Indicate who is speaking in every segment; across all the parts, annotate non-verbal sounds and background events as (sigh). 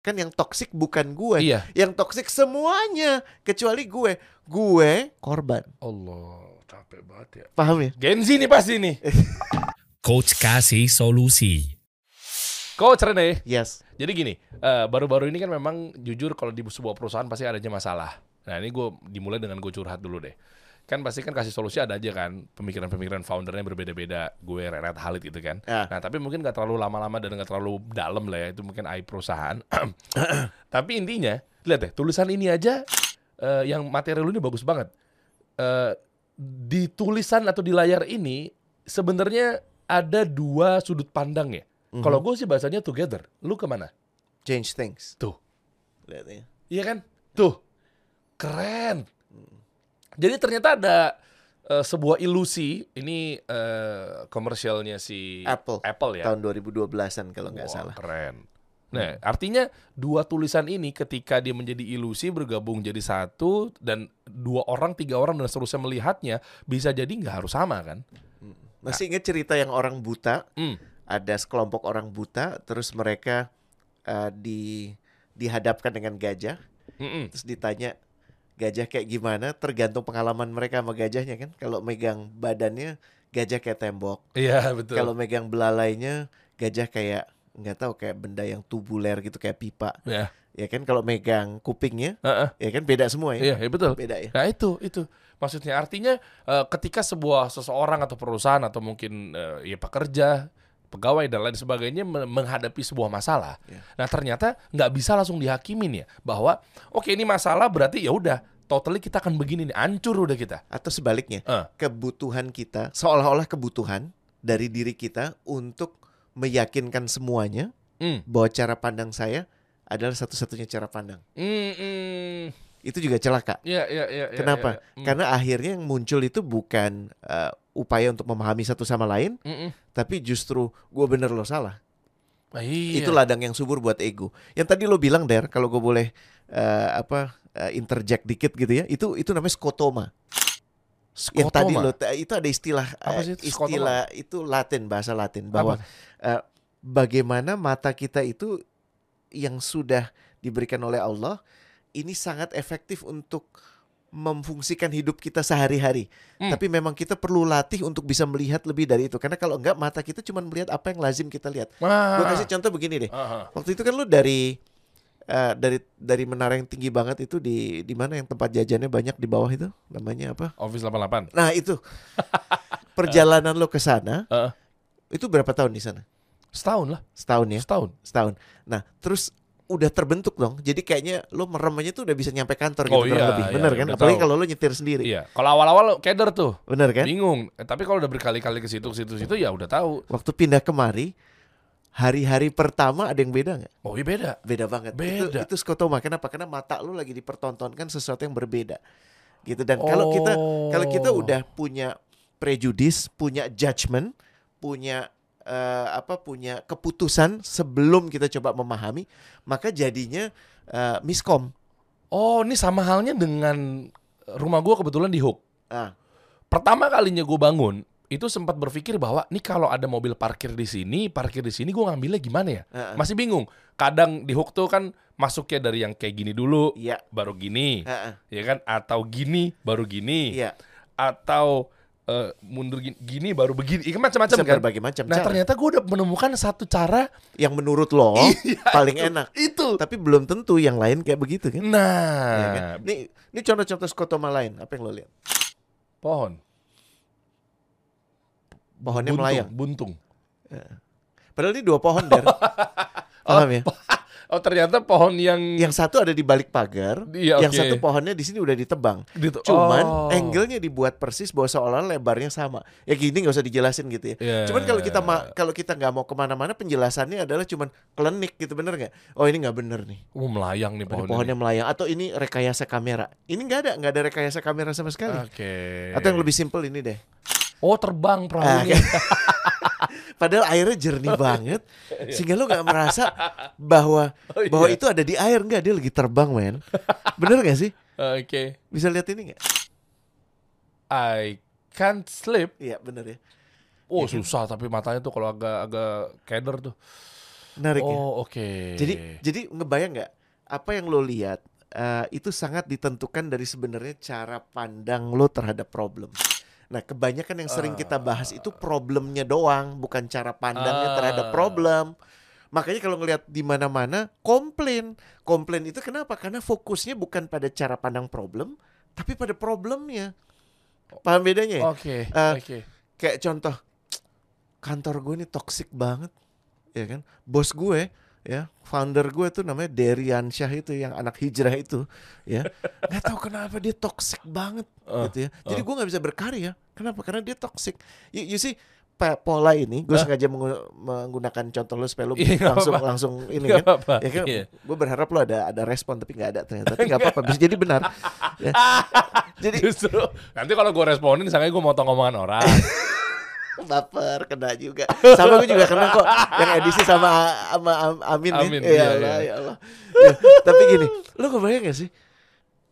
Speaker 1: kan yang toksik bukan gue
Speaker 2: Iya.
Speaker 1: yang toksik semuanya kecuali gue gue korban
Speaker 2: Allah, capek banget ya.
Speaker 1: paham ya
Speaker 2: Gen Z nih pasti nih.
Speaker 3: Coach kasih solusi.
Speaker 2: Coach Rene,
Speaker 1: yes
Speaker 2: ya? jadi gini, eh, baru-baru ini kan memang jujur kalau di sebuah perusahaan pasti ada aja masalah. Nah ini gue dimulai dengan gue curhat dulu deh. Kan pasti kan kasih solusi ada aja kan, pemikiran-pemikiran foundernya berbeda-beda. Gue Renat Halid gitu kan.
Speaker 1: Ah.
Speaker 2: Nah tapi mungkin gak terlalu lama-lama dan gak terlalu dalam lah ya, itu mungkin AI perusahaan. tapi intinya, lihat deh, tulisan ini aja eh, yang materi lu ini bagus banget. Eh, di tulisan atau di layar ini sebenarnya ada dua sudut pandang ya.
Speaker 1: Mhm.
Speaker 2: Kalau gue sih bahasanya together. Lu kemana?
Speaker 1: change things
Speaker 2: Tuh.
Speaker 1: Lihat ya.
Speaker 2: Iya kan? Tuh. Keren. Jadi ternyata ada eh, sebuah ilusi ini eh, komersialnya si
Speaker 1: Apple.
Speaker 2: Apple ya.
Speaker 1: tahun 2012an kalau nggak
Speaker 2: Wah,
Speaker 1: salah Hmm.
Speaker 2: Keren. Nah, artinya dua tulisan ini ketika dia menjadi ilusi bergabung jadi satu dan dua orang, tiga orang dan seterusnya melihatnya bisa jadi nggak harus sama kan?
Speaker 1: masih inget cerita yang orang buta
Speaker 2: Hmm.
Speaker 1: ada sekelompok orang buta terus mereka eh, di dihadapkan dengan gajah
Speaker 2: Mm-mm.
Speaker 1: terus ditanya gajah kayak gimana tergantung pengalaman mereka sama gajahnya kan kalau megang badannya gajah kayak tembok
Speaker 2: Iya betul.
Speaker 1: kalau megang belalainya gajah kayak nggak tahu kayak benda yang tubuler gitu kayak pipa
Speaker 2: ya,
Speaker 1: ya kan kalau megang kupingnya
Speaker 2: Heeh.
Speaker 1: ya kan beda semua ya
Speaker 2: iya iya, betul.
Speaker 1: beda ya
Speaker 2: Nah itu itu maksudnya artinya eh, ketika sebuah seseorang atau perusahaan atau mungkin eh, ya pekerja pegawai dan lain sebagainya me- menghadapi sebuah masalah.
Speaker 1: Iya.
Speaker 2: Nah ternyata nggak bisa langsung dihakimin ya bahwa oke ini masalah berarti ya udah totally kita akan begini nih hancur udah kita.
Speaker 1: atau sebaliknya
Speaker 2: Eh.
Speaker 1: kebutuhan kita seolah-olah kebutuhan dari diri kita untuk meyakinkan semuanya
Speaker 2: Hmm.
Speaker 1: bahwa cara pandang saya adalah satu-satunya cara pandang
Speaker 2: Hmm, hmm.
Speaker 1: itu juga celaka
Speaker 2: Ya, ya, ya, ya,
Speaker 1: Kenapa? Kan
Speaker 2: ya, ya. Hmm.
Speaker 1: Karena akhirnya yang muncul itu bukan eh, upaya untuk memahami satu sama lain,
Speaker 2: Hmm, hmm.
Speaker 1: tapi justru gue bener lo salah.
Speaker 2: Ah, iya.
Speaker 1: Itu ladang yang subur buat ego. Yang tadi lo bilang der, kalau gue boleh eh, apa eh, interject dikit gitu ya, itu itu namanya skotoma.
Speaker 2: Skotoma.
Speaker 1: Yang tadi lo itu ada istilah
Speaker 2: Apa
Speaker 1: eh,
Speaker 2: sih itu skotoma?
Speaker 1: istilah itu Latin bahasa Latin
Speaker 2: Apa?
Speaker 1: bahwa eh, bagaimana mata kita itu yang sudah diberikan oleh Allah ini sangat efektif untuk memfungsikan hidup kita sehari-hari.
Speaker 2: Hmm.
Speaker 1: Tapi memang kita perlu latih untuk bisa melihat lebih dari itu. Karena kalau enggak mata kita cuma melihat apa yang lazim kita lihat.
Speaker 2: Ah,
Speaker 1: Gue kasih contoh begini deh.
Speaker 2: ah, ah.
Speaker 1: Waktu itu kan lu dari eh, dari dari menara yang tinggi banget itu di di mana yang tempat jajannya banyak di bawah itu namanya apa?
Speaker 2: Office 88.
Speaker 1: Nah,
Speaker 2: (laughs)
Speaker 1: itu. Perjalanan lo ke sana
Speaker 2: Heeh.
Speaker 1: itu berapa tahun di sana?
Speaker 2: Setahun lah,
Speaker 1: Setahun ya?
Speaker 2: setahun.
Speaker 1: setahun. Nah, terus udah terbentuk dong. Jadi kayaknya lo merem aja tuh udah bisa nyampe kantor gitu
Speaker 2: Oh,
Speaker 1: kurang
Speaker 2: iya,
Speaker 1: lebih.
Speaker 2: iya,
Speaker 1: Bener kan?
Speaker 2: udah
Speaker 1: Apalagi
Speaker 2: tahu.
Speaker 1: kalau lo nyetir sendiri.
Speaker 2: Iya. Kalau awal-awal keder tuh.
Speaker 1: Bener kan?
Speaker 2: bingung Eh, tapi kalau udah berkali-kali ke situ ke situ ke situ ya udah tahu
Speaker 1: Waktu pindah kemari, hari-hari pertama ada yang beda nggak?
Speaker 2: oh iya beda
Speaker 1: Beda banget. Itu,
Speaker 2: Beda.
Speaker 1: itu skotoma. Kenapa? Karena mata lo lagi dipertontonkan sesuatu yang berbeda. Gitu. Dan kalau kita kalau kita
Speaker 2: Oh.
Speaker 1: udah punya prejudis, punya judgement, punya eh, apa punya keputusan sebelum kita coba memahami, maka jadinya eh, miskom.
Speaker 2: oh ini sama halnya dengan rumah gua kebetulan di Hook
Speaker 1: Ah.
Speaker 2: pertama kalinya gue bangun itu sempat berpikir bahwa nih kalau ada mobil parkir di sini parkir di sini gua ngambilnya gimana ya
Speaker 1: Heeh.
Speaker 2: masih bingung kadang di Hook tuh kan masuknya dari yang kayak gini dulu
Speaker 1: Iya.
Speaker 2: baru gini
Speaker 1: Heeh.
Speaker 2: ya kan atau gini baru gini
Speaker 1: Iya.
Speaker 2: atau eh, mundur gini, gini baru begini Iya, macam-macam
Speaker 1: Bisa
Speaker 2: kan
Speaker 1: berbagai macam
Speaker 2: nah
Speaker 1: cara.
Speaker 2: ternyata gue udah menemukan satu cara
Speaker 1: yang menurut
Speaker 2: (laughs)
Speaker 1: lo paling enak.
Speaker 2: Iya, itu
Speaker 1: Tapi belum tentu yang lain kayak begitu kan?
Speaker 2: Nah,
Speaker 1: Ya kan? Ini ini contoh-contoh skotoma lain. Apa yang lo lihat?
Speaker 2: pohon.
Speaker 1: Pohonnya
Speaker 2: buntung,
Speaker 1: melayang.
Speaker 2: Buntung.
Speaker 1: Padahal ini dua pohon
Speaker 2: (laughs)
Speaker 1: der. Paham ya?
Speaker 2: Oh ternyata pohon yang,
Speaker 1: Yang satu ada di balik pagar,
Speaker 2: Iya,
Speaker 1: Iya, yang
Speaker 2: oke.
Speaker 1: satu pohonnya di sini udah ditebang.
Speaker 2: Gitu. Oh.
Speaker 1: Cuman angle-nya dibuat persis bahwa seolah lebarnya sama. Ya gini nggak usah dijelasin gitu ya.
Speaker 2: Ya.
Speaker 1: Cuman kalau kita ma- kalau kita nggak mau kemana-mana penjelasannya adalah cuman klenik gitu bener nggak? Oh ini nggak bener nih.
Speaker 2: Oh, melayang nih
Speaker 1: Ada
Speaker 2: pohon.
Speaker 1: pohonnya melayang atau ini rekayasa kamera. Ini nggak ada, nggak ada rekayasa kamera sama sekali.
Speaker 2: Oke.
Speaker 1: Atau yang lebih simpel ini deh.
Speaker 2: Oh terbang
Speaker 1: Ah,
Speaker 2: perahunya.
Speaker 1: Padahal airnya
Speaker 2: (laughs)
Speaker 1: jernih banget,
Speaker 2: Iya.
Speaker 1: sehingga lo nggak merasa bahwa
Speaker 2: Oh, iya.
Speaker 1: bahwa itu ada di air nggak dia lagi terbang men. Bener nggak sih?
Speaker 2: Oke.
Speaker 1: Bisa lihat ini nggak?
Speaker 2: I can't sleep.
Speaker 1: Iya bener ya.
Speaker 2: Oh susah tapi matanya tuh kalau agak agak keder tuh.
Speaker 1: menarik ya.
Speaker 2: Oh, oke.
Speaker 1: Jadi jadi ngebayang nggak apa yang lo lihat eh, itu sangat ditentukan dari sebenarnya cara pandang lo terhadap problem. Nah, kebanyakan yang sering kita bahas itu problemnya doang, bukan cara pandangnya terhadap
Speaker 2: Ah.
Speaker 1: problem. Makanya kalau ngelihat di mana-mana komplain, komplain itu kenapa? Karena fokusnya bukan pada cara pandang problem, tapi pada problemnya. Paham bedanya? ya?
Speaker 2: Oke,
Speaker 1: eh,
Speaker 2: oke.
Speaker 1: kayak contoh kantor gue ini toxic banget ya kan bos gue ya founder gue tuh namanya Derian Syah itu yang anak hijrah itu
Speaker 2: (laughs)
Speaker 1: ya nggak tahu kenapa dia toxic banget
Speaker 2: Eh,
Speaker 1: gitu ya jadi gue nggak bisa berkarya kenapa karena dia toxic you, you see pe- pola ini gue
Speaker 2: Hah?
Speaker 1: sengaja mengu- menggunakan contoh lu supaya lu
Speaker 2: Ah. Iya, nggak
Speaker 1: langsung
Speaker 2: apa-apa.
Speaker 1: langsung ini
Speaker 2: Nggak
Speaker 1: kan
Speaker 2: apa-apa.
Speaker 1: ya kan
Speaker 2: Iya.
Speaker 1: gue berharap lo ada ada respon tapi nggak ada ternyata tapi
Speaker 2: (laughs)
Speaker 1: nggak apa-apa bisa jadi benar Ya. jadi
Speaker 2: Justru nanti kalau gue responin, sangka gue motong omongan orang.
Speaker 1: baper kena juga sama gue juga kena kok yang edisi sama sama Am- Amin,
Speaker 2: Amin,
Speaker 1: ya ya
Speaker 2: iya,
Speaker 1: Allah,
Speaker 2: iya.
Speaker 1: ya Allah. Ya, tapi gini lo kebayang gak sih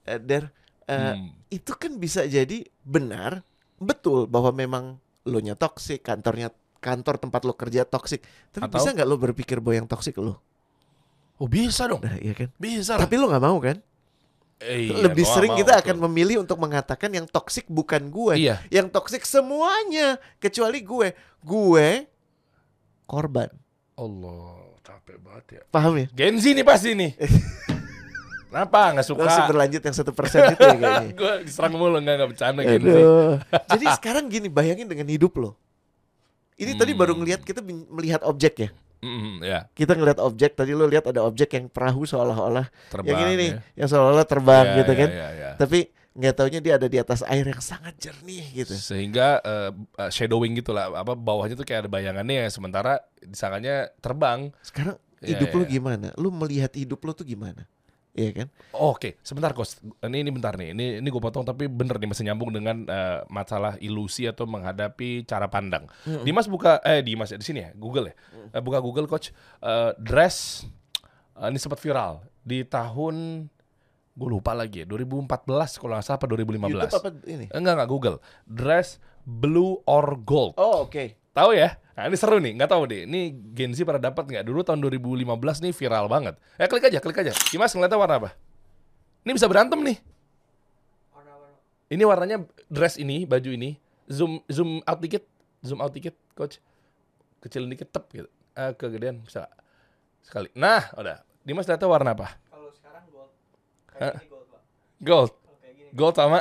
Speaker 1: eh, Der eh,
Speaker 2: Hmm.
Speaker 1: itu kan bisa jadi benar betul bahwa memang lo nya toksik kantornya kantor tempat lo kerja toksik tapi
Speaker 2: Atau?
Speaker 1: bisa nggak lo berpikir bahwa yang toksik lo
Speaker 2: Oh bisa dong,
Speaker 1: nah iya kan
Speaker 2: bisa.
Speaker 1: tapi lo nggak mau kan
Speaker 2: Eh, iya,
Speaker 1: lebih
Speaker 2: gua
Speaker 1: sering
Speaker 2: mau
Speaker 1: kita
Speaker 2: tuh.
Speaker 1: akan memilih untuk mengatakan yang toksik bukan gue
Speaker 2: Iya.
Speaker 1: yang toksik semuanya kecuali gue gue korban
Speaker 2: Allah capek banget ya.
Speaker 1: paham ya
Speaker 2: Gen Z nih pasti
Speaker 1: (laughs)
Speaker 2: nih. Kenapa nggak
Speaker 1: lo masih
Speaker 2: suka? (laughs)
Speaker 1: berlanjut yang satu persen itu ya kayaknya
Speaker 2: gue diserang mulu nggak nggak bercanda gitu Gen Z. (laughs)
Speaker 1: Aduh. jadi sekarang gini bayangin dengan hidup lo ini tadi baru
Speaker 2: Hmm.
Speaker 1: ngelihat kita bin- melihat objek ya
Speaker 2: Mm, ya
Speaker 1: kita ngelihat objek tadi lo lihat ada objek yang perahu seolah-olah
Speaker 2: terbang.
Speaker 1: yang ini nih
Speaker 2: ya.
Speaker 1: yang seolah-olah terbang
Speaker 2: Ya,
Speaker 1: gitu
Speaker 2: ya,
Speaker 1: kan
Speaker 2: ya, ya.
Speaker 1: tapi nggak taunya dia ada di atas air yang sangat jernih gitu
Speaker 2: Sehingga eh, eh, shadowing gitu lah, apa bawahnya tuh kayak ada bayangannya, sementara disangkanya terbang.
Speaker 1: sekarang
Speaker 2: Ya,
Speaker 1: hidup
Speaker 2: ya,
Speaker 1: lo
Speaker 2: ya.
Speaker 1: gimana lo melihat hidup lo tuh gimana Iya kan
Speaker 2: Oke, sebentar Kos. Ini ini bentar nih. Ini ini gue potong tapi bener nih masih nyambung dengan eh, masalah ilusi atau menghadapi cara pandang. Dimas buka eh Dimas ya, di sini ya, Google ya.
Speaker 1: Mm.
Speaker 2: Eh, buka Google coach Eh, dress eh, ini sempat viral di tahun gue lupa lagi ya, 2014 kalau nggak salah apa 2015.
Speaker 1: YouTube apa ini
Speaker 2: Enggak enggak Google. Dress blue or gold.
Speaker 1: oh oke
Speaker 2: Tahu ya? Nah, ini seru nih, nggak tahu deh. Ini Gen Z pada dapat nggak? Dulu tahun 2015 nih viral banget. Eh klik aja, klik aja. Dimas ngeliatnya warna apa? Ini bisa berantem nih. Ini warnanya dress ini, baju ini. Zoom zoom out dikit, zoom out dikit, coach. Kecilin dikit, tep gitu. Eh, kegedean bisa nggak? sekali. Nah, udah. Dimas lihatnya warna apa?
Speaker 4: Kalau sekarang gold.
Speaker 2: Hah?
Speaker 4: Kayak gini gold, Pak.
Speaker 2: Gold.
Speaker 4: Kalau kayak gini
Speaker 2: Gold sama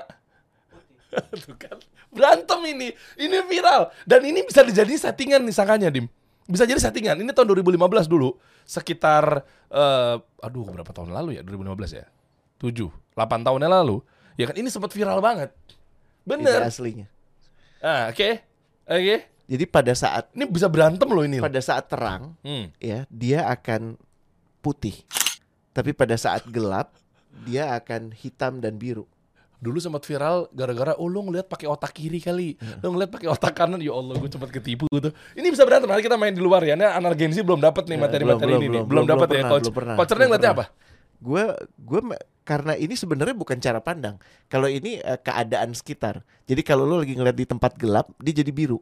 Speaker 4: putih.
Speaker 2: (laughs) Tuh kan berantem ini ini viral dan ini bisa jadi settingan nih sangkanya dim bisa jadi settingan ini tahun 2015 dulu sekitar eh aduh berapa tahun lalu ya 2015 ya 7 8 tahun yang lalu ya kan ini sempat viral banget
Speaker 1: Ini
Speaker 2: bener
Speaker 1: aslinya
Speaker 2: ah oke oke
Speaker 1: jadi pada saat
Speaker 2: ini bisa berantem loh ini loh.
Speaker 1: pada saat terang
Speaker 2: Hmm.
Speaker 1: ya dia akan putih tapi pada saat gelap dia akan hitam dan biru
Speaker 2: dulu sempat viral gara-gara oh lu ngeliat pakai otak kiri kali
Speaker 1: Iya.
Speaker 2: lu ngeliat pakai otak kanan ya Allah gue sempat ketipu tuh ini bisa berantem nanti kita main di luar ya ini anergensi belum dapat nih
Speaker 1: Ya,
Speaker 2: materi-materi
Speaker 1: belum,
Speaker 2: ini
Speaker 1: belum, belum,
Speaker 2: nih.
Speaker 1: belum
Speaker 2: belum dapat ya
Speaker 1: pernah,
Speaker 2: coach
Speaker 1: belum pernah,
Speaker 2: coachernya
Speaker 1: belum
Speaker 2: ngeliatnya apa
Speaker 1: pernah. gue gue me- karena ini sebenarnya bukan cara pandang kalau ini eh, keadaan sekitar jadi kalau lu lagi ngeliat di tempat gelap dia jadi biru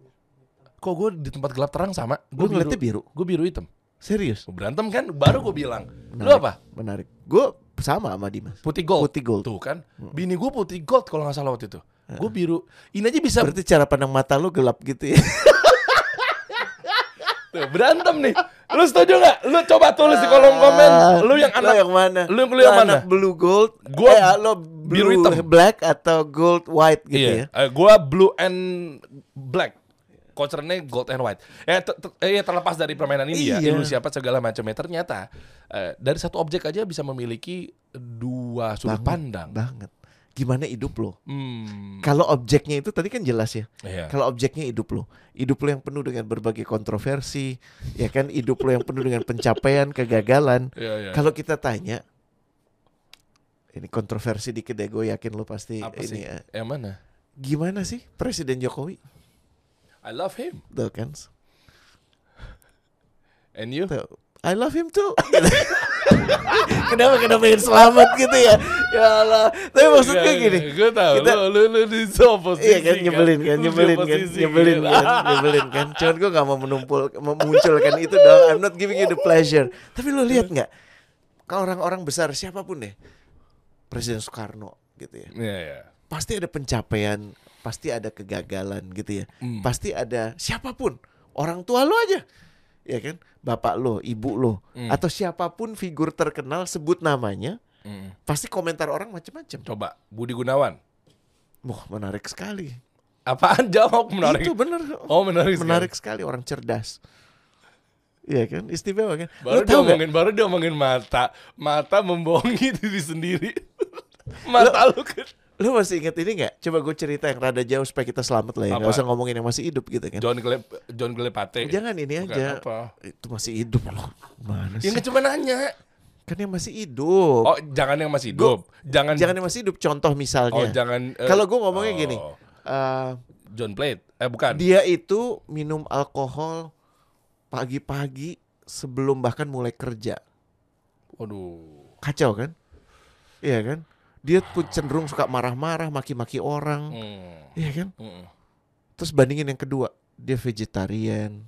Speaker 2: kok gue di tempat gelap terang sama
Speaker 1: lu
Speaker 2: gue biru
Speaker 1: ngeliatnya biru
Speaker 2: gue biru hitam
Speaker 1: serius
Speaker 2: Gua berantem kan baru gue bilang lu
Speaker 1: Menarik.
Speaker 2: apa
Speaker 1: menarik gue sama sama Dimas
Speaker 2: putih gold
Speaker 1: Nah. putih gold Hmm. Iya.
Speaker 2: tuh kan bini gue putih gold kalau nggak salah waktu itu gue biru ini aja bisa
Speaker 1: berarti cara pandang mata lu gelap gitu ya
Speaker 2: Tuh, berantem nih lu setuju nggak lu coba tulis di
Speaker 1: Ah.
Speaker 2: kolom komen lu yang
Speaker 1: Lo
Speaker 2: anak
Speaker 1: yang mana
Speaker 2: lu yang- lu yang mana?
Speaker 1: anak blue gold
Speaker 2: Gua
Speaker 1: eh, lo
Speaker 2: biru
Speaker 1: biru
Speaker 2: hitam.
Speaker 1: black atau gold white gitu ya
Speaker 2: iya Eh, gua blue and black Coachernya gold and white. Eh, te- te- eh, terlepas dari permainan ini ya,
Speaker 1: Iya.
Speaker 2: ilusi apa segala macamnya. Ternyata eh, dari satu objek aja bisa memiliki dua sudut
Speaker 1: Banget,
Speaker 2: pandang.
Speaker 1: banget. Gimana hidup lo?
Speaker 2: Hmm,
Speaker 1: Kalau objeknya itu tadi kan jelas ya.
Speaker 2: iya.
Speaker 1: Kalau objeknya hidup lo, hidup lo yang penuh dengan berbagai kontroversi, ya kan? Hidup lo yang penuh dengan pencapaian, (laughs) kegagalan.
Speaker 2: Iya, iya.
Speaker 1: Kalau kita tanya, ini kontroversi dikit deh, gue yakin lo pasti
Speaker 2: apa
Speaker 1: ini.
Speaker 2: sih?
Speaker 1: ya.
Speaker 2: Yang mana?
Speaker 1: Gimana sih Presiden Jokowi?
Speaker 2: I love him
Speaker 1: Tuh kan?
Speaker 2: and you.
Speaker 1: Tuh, I love him too. (laughs) kenapa kenapa pengen selamat gitu ya ya Allah tapi
Speaker 2: Iya,
Speaker 1: maksudnya gini
Speaker 2: Gue tahu
Speaker 1: kita-
Speaker 2: lu lu lu di so posisi.
Speaker 1: Iya kan nyebelin kan
Speaker 2: Lu di
Speaker 1: nyebelin kan
Speaker 2: oposisi,
Speaker 1: nyebelin
Speaker 2: gitu.
Speaker 1: kan nyebelin kan. Cuman gue gak mau menumpul memunculkan itu dong. I'm not giving you the pleasure. Tapi lo lihat nggak? Kalau orang-orang besar siapapun deh, Presiden Soekarno gitu ya.
Speaker 2: Iya iya.
Speaker 1: Pasti ada pencapaian, pasti ada kegagalan gitu ya.
Speaker 2: Hmm.
Speaker 1: Pasti ada siapapun orang tua lo aja. Ya kan, bapak lo, ibu lo,
Speaker 2: Hmm.
Speaker 1: atau siapapun figur terkenal sebut namanya,
Speaker 2: Mm.
Speaker 1: pasti komentar orang macam-macam.
Speaker 2: Coba Budi Gunawan.
Speaker 1: Wah menarik sekali.
Speaker 2: Apaan jawab menarik?
Speaker 1: Itu bener.
Speaker 2: Oh menarik. sekali.
Speaker 1: menarik sekali orang cerdas. Iya kan, istimewa kan. Lu
Speaker 2: Baru dia
Speaker 1: tahu nggak?
Speaker 2: omongin, baru dia omongin mata, mata membohongi (laughs) diri sendiri. mata lu kan.
Speaker 1: Lu masih inget ini nggak? Coba gue cerita yang rada jauh supaya kita selamat lah ya. Nggak
Speaker 2: Apa?
Speaker 1: usah ngomongin yang masih hidup gitu kan.
Speaker 2: John Glep, John Glepate.
Speaker 1: Jangan ini
Speaker 2: Bukan
Speaker 1: aja.
Speaker 2: apa.
Speaker 1: Itu masih hidup loh. Mana sih?
Speaker 2: Yang cuma nanya.
Speaker 1: Kan yang masih hidup.
Speaker 2: Oh, jangan yang masih hidup. jangan
Speaker 1: Jangan yang masih hidup. Contoh misalnya.
Speaker 2: Oh, jangan eh,
Speaker 1: Kalau gue ngomongnya gini,
Speaker 2: oh,
Speaker 1: eh,
Speaker 2: John Plate. Eh bukan.
Speaker 1: dia itu minum alkohol pagi-pagi sebelum bahkan mulai kerja.
Speaker 2: Waduh.
Speaker 1: Kacau kan? Iya kan? Dia tuh cenderung suka marah-marah, maki-maki orang.
Speaker 2: Hmm.
Speaker 1: Iya kan?
Speaker 2: Mm-mm.
Speaker 1: Terus bandingin yang kedua, dia vegetarian.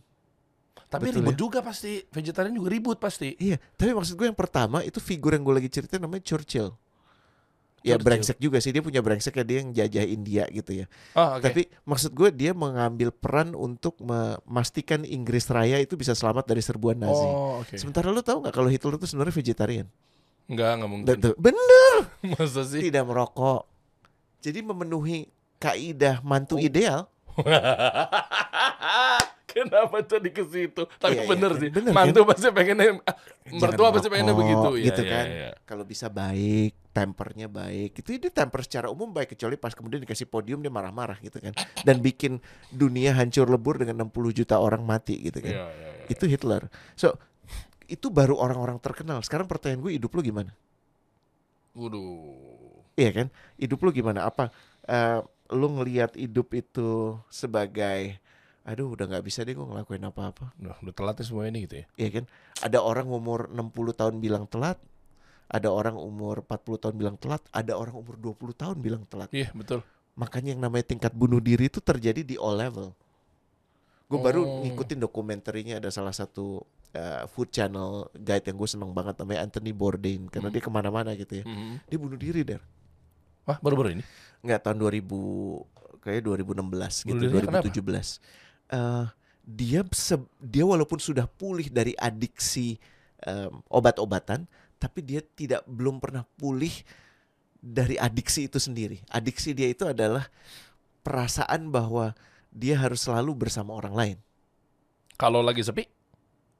Speaker 2: Tapi
Speaker 1: Betul
Speaker 2: ribut
Speaker 1: ya.
Speaker 2: juga pasti. Vegetarian juga ribut pasti.
Speaker 1: Iya, tapi maksud gue yang pertama itu figur yang gue lagi cerita namanya Churchill. Ya
Speaker 2: Churchill.
Speaker 1: brengsek juga sih, dia punya brengsek ya dia yang jajah India gitu ya.
Speaker 2: Oh, oke.
Speaker 1: Tapi maksud gue dia mengambil peran untuk memastikan Inggris Raya itu bisa selamat dari serbuan Nazi.
Speaker 2: Oh, oke.
Speaker 1: Sementara lu tahu nggak kalau Hitler itu sebenarnya vegetarian?
Speaker 2: Enggak, enggak mungkin.
Speaker 1: Dan tuh, Bener,
Speaker 2: (laughs) Masa sih?
Speaker 1: tidak merokok. Jadi memenuhi kaidah mantu
Speaker 2: Oh.
Speaker 1: ideal
Speaker 2: (laughs) Kenapa tadi ke situ? Tapi
Speaker 1: Iya, iya,
Speaker 2: bener
Speaker 1: kan?
Speaker 2: sih.
Speaker 1: Bener,
Speaker 2: Mantu pasti pengennya ah, mertua
Speaker 1: Jangan
Speaker 2: pasti pengennya
Speaker 1: merokok,
Speaker 2: begitu Iya,
Speaker 1: gitu
Speaker 2: iya,
Speaker 1: kan.
Speaker 2: iya.
Speaker 1: Kalau bisa baik, tempernya baik. Itu dia temper secara umum baik kecuali pas kemudian dikasih podium dia marah-marah gitu kan. Dan bikin dunia hancur lebur dengan 60 juta orang mati gitu kan.
Speaker 2: Iya, iya, iya.
Speaker 1: Itu Hitler. So itu baru orang-orang terkenal. Sekarang pertanyaan gue hidup lu gimana?
Speaker 2: Waduh.
Speaker 1: Iya kan? Hidup lu gimana? Apa eh, lu ngelihat hidup itu sebagai aduh udah nggak bisa deh gue ngelakuin apa-apa.
Speaker 2: Duh, udah telat nih semua ini gitu ya.
Speaker 1: ya kan ada orang umur 60 tahun bilang telat ada orang umur 40 tahun bilang telat ada orang umur 20 tahun bilang telat
Speaker 2: Iya, betul.
Speaker 1: makanya yang namanya tingkat bunuh diri itu terjadi di all level gue baru
Speaker 2: Oh.
Speaker 1: ngikutin dokumenterinya ada salah satu eh, food channel guide yang gue seneng banget namanya Anthony Bourdain karena dia kemana-mana gitu ya
Speaker 2: Mhm.
Speaker 1: dia bunuh diri der
Speaker 2: Wah, baru-baru ini.
Speaker 1: nggak tahun 2000 kayak 2016 gitu
Speaker 2: Bunuh dirinya kenapa?
Speaker 1: 2017 Eh, dia se- dia walaupun sudah pulih dari adiksi em, obat-obatan tapi dia tidak belum pernah pulih dari adiksi itu sendiri adiksi dia itu adalah perasaan bahwa dia harus selalu bersama orang lain
Speaker 2: Kalau lagi sepi,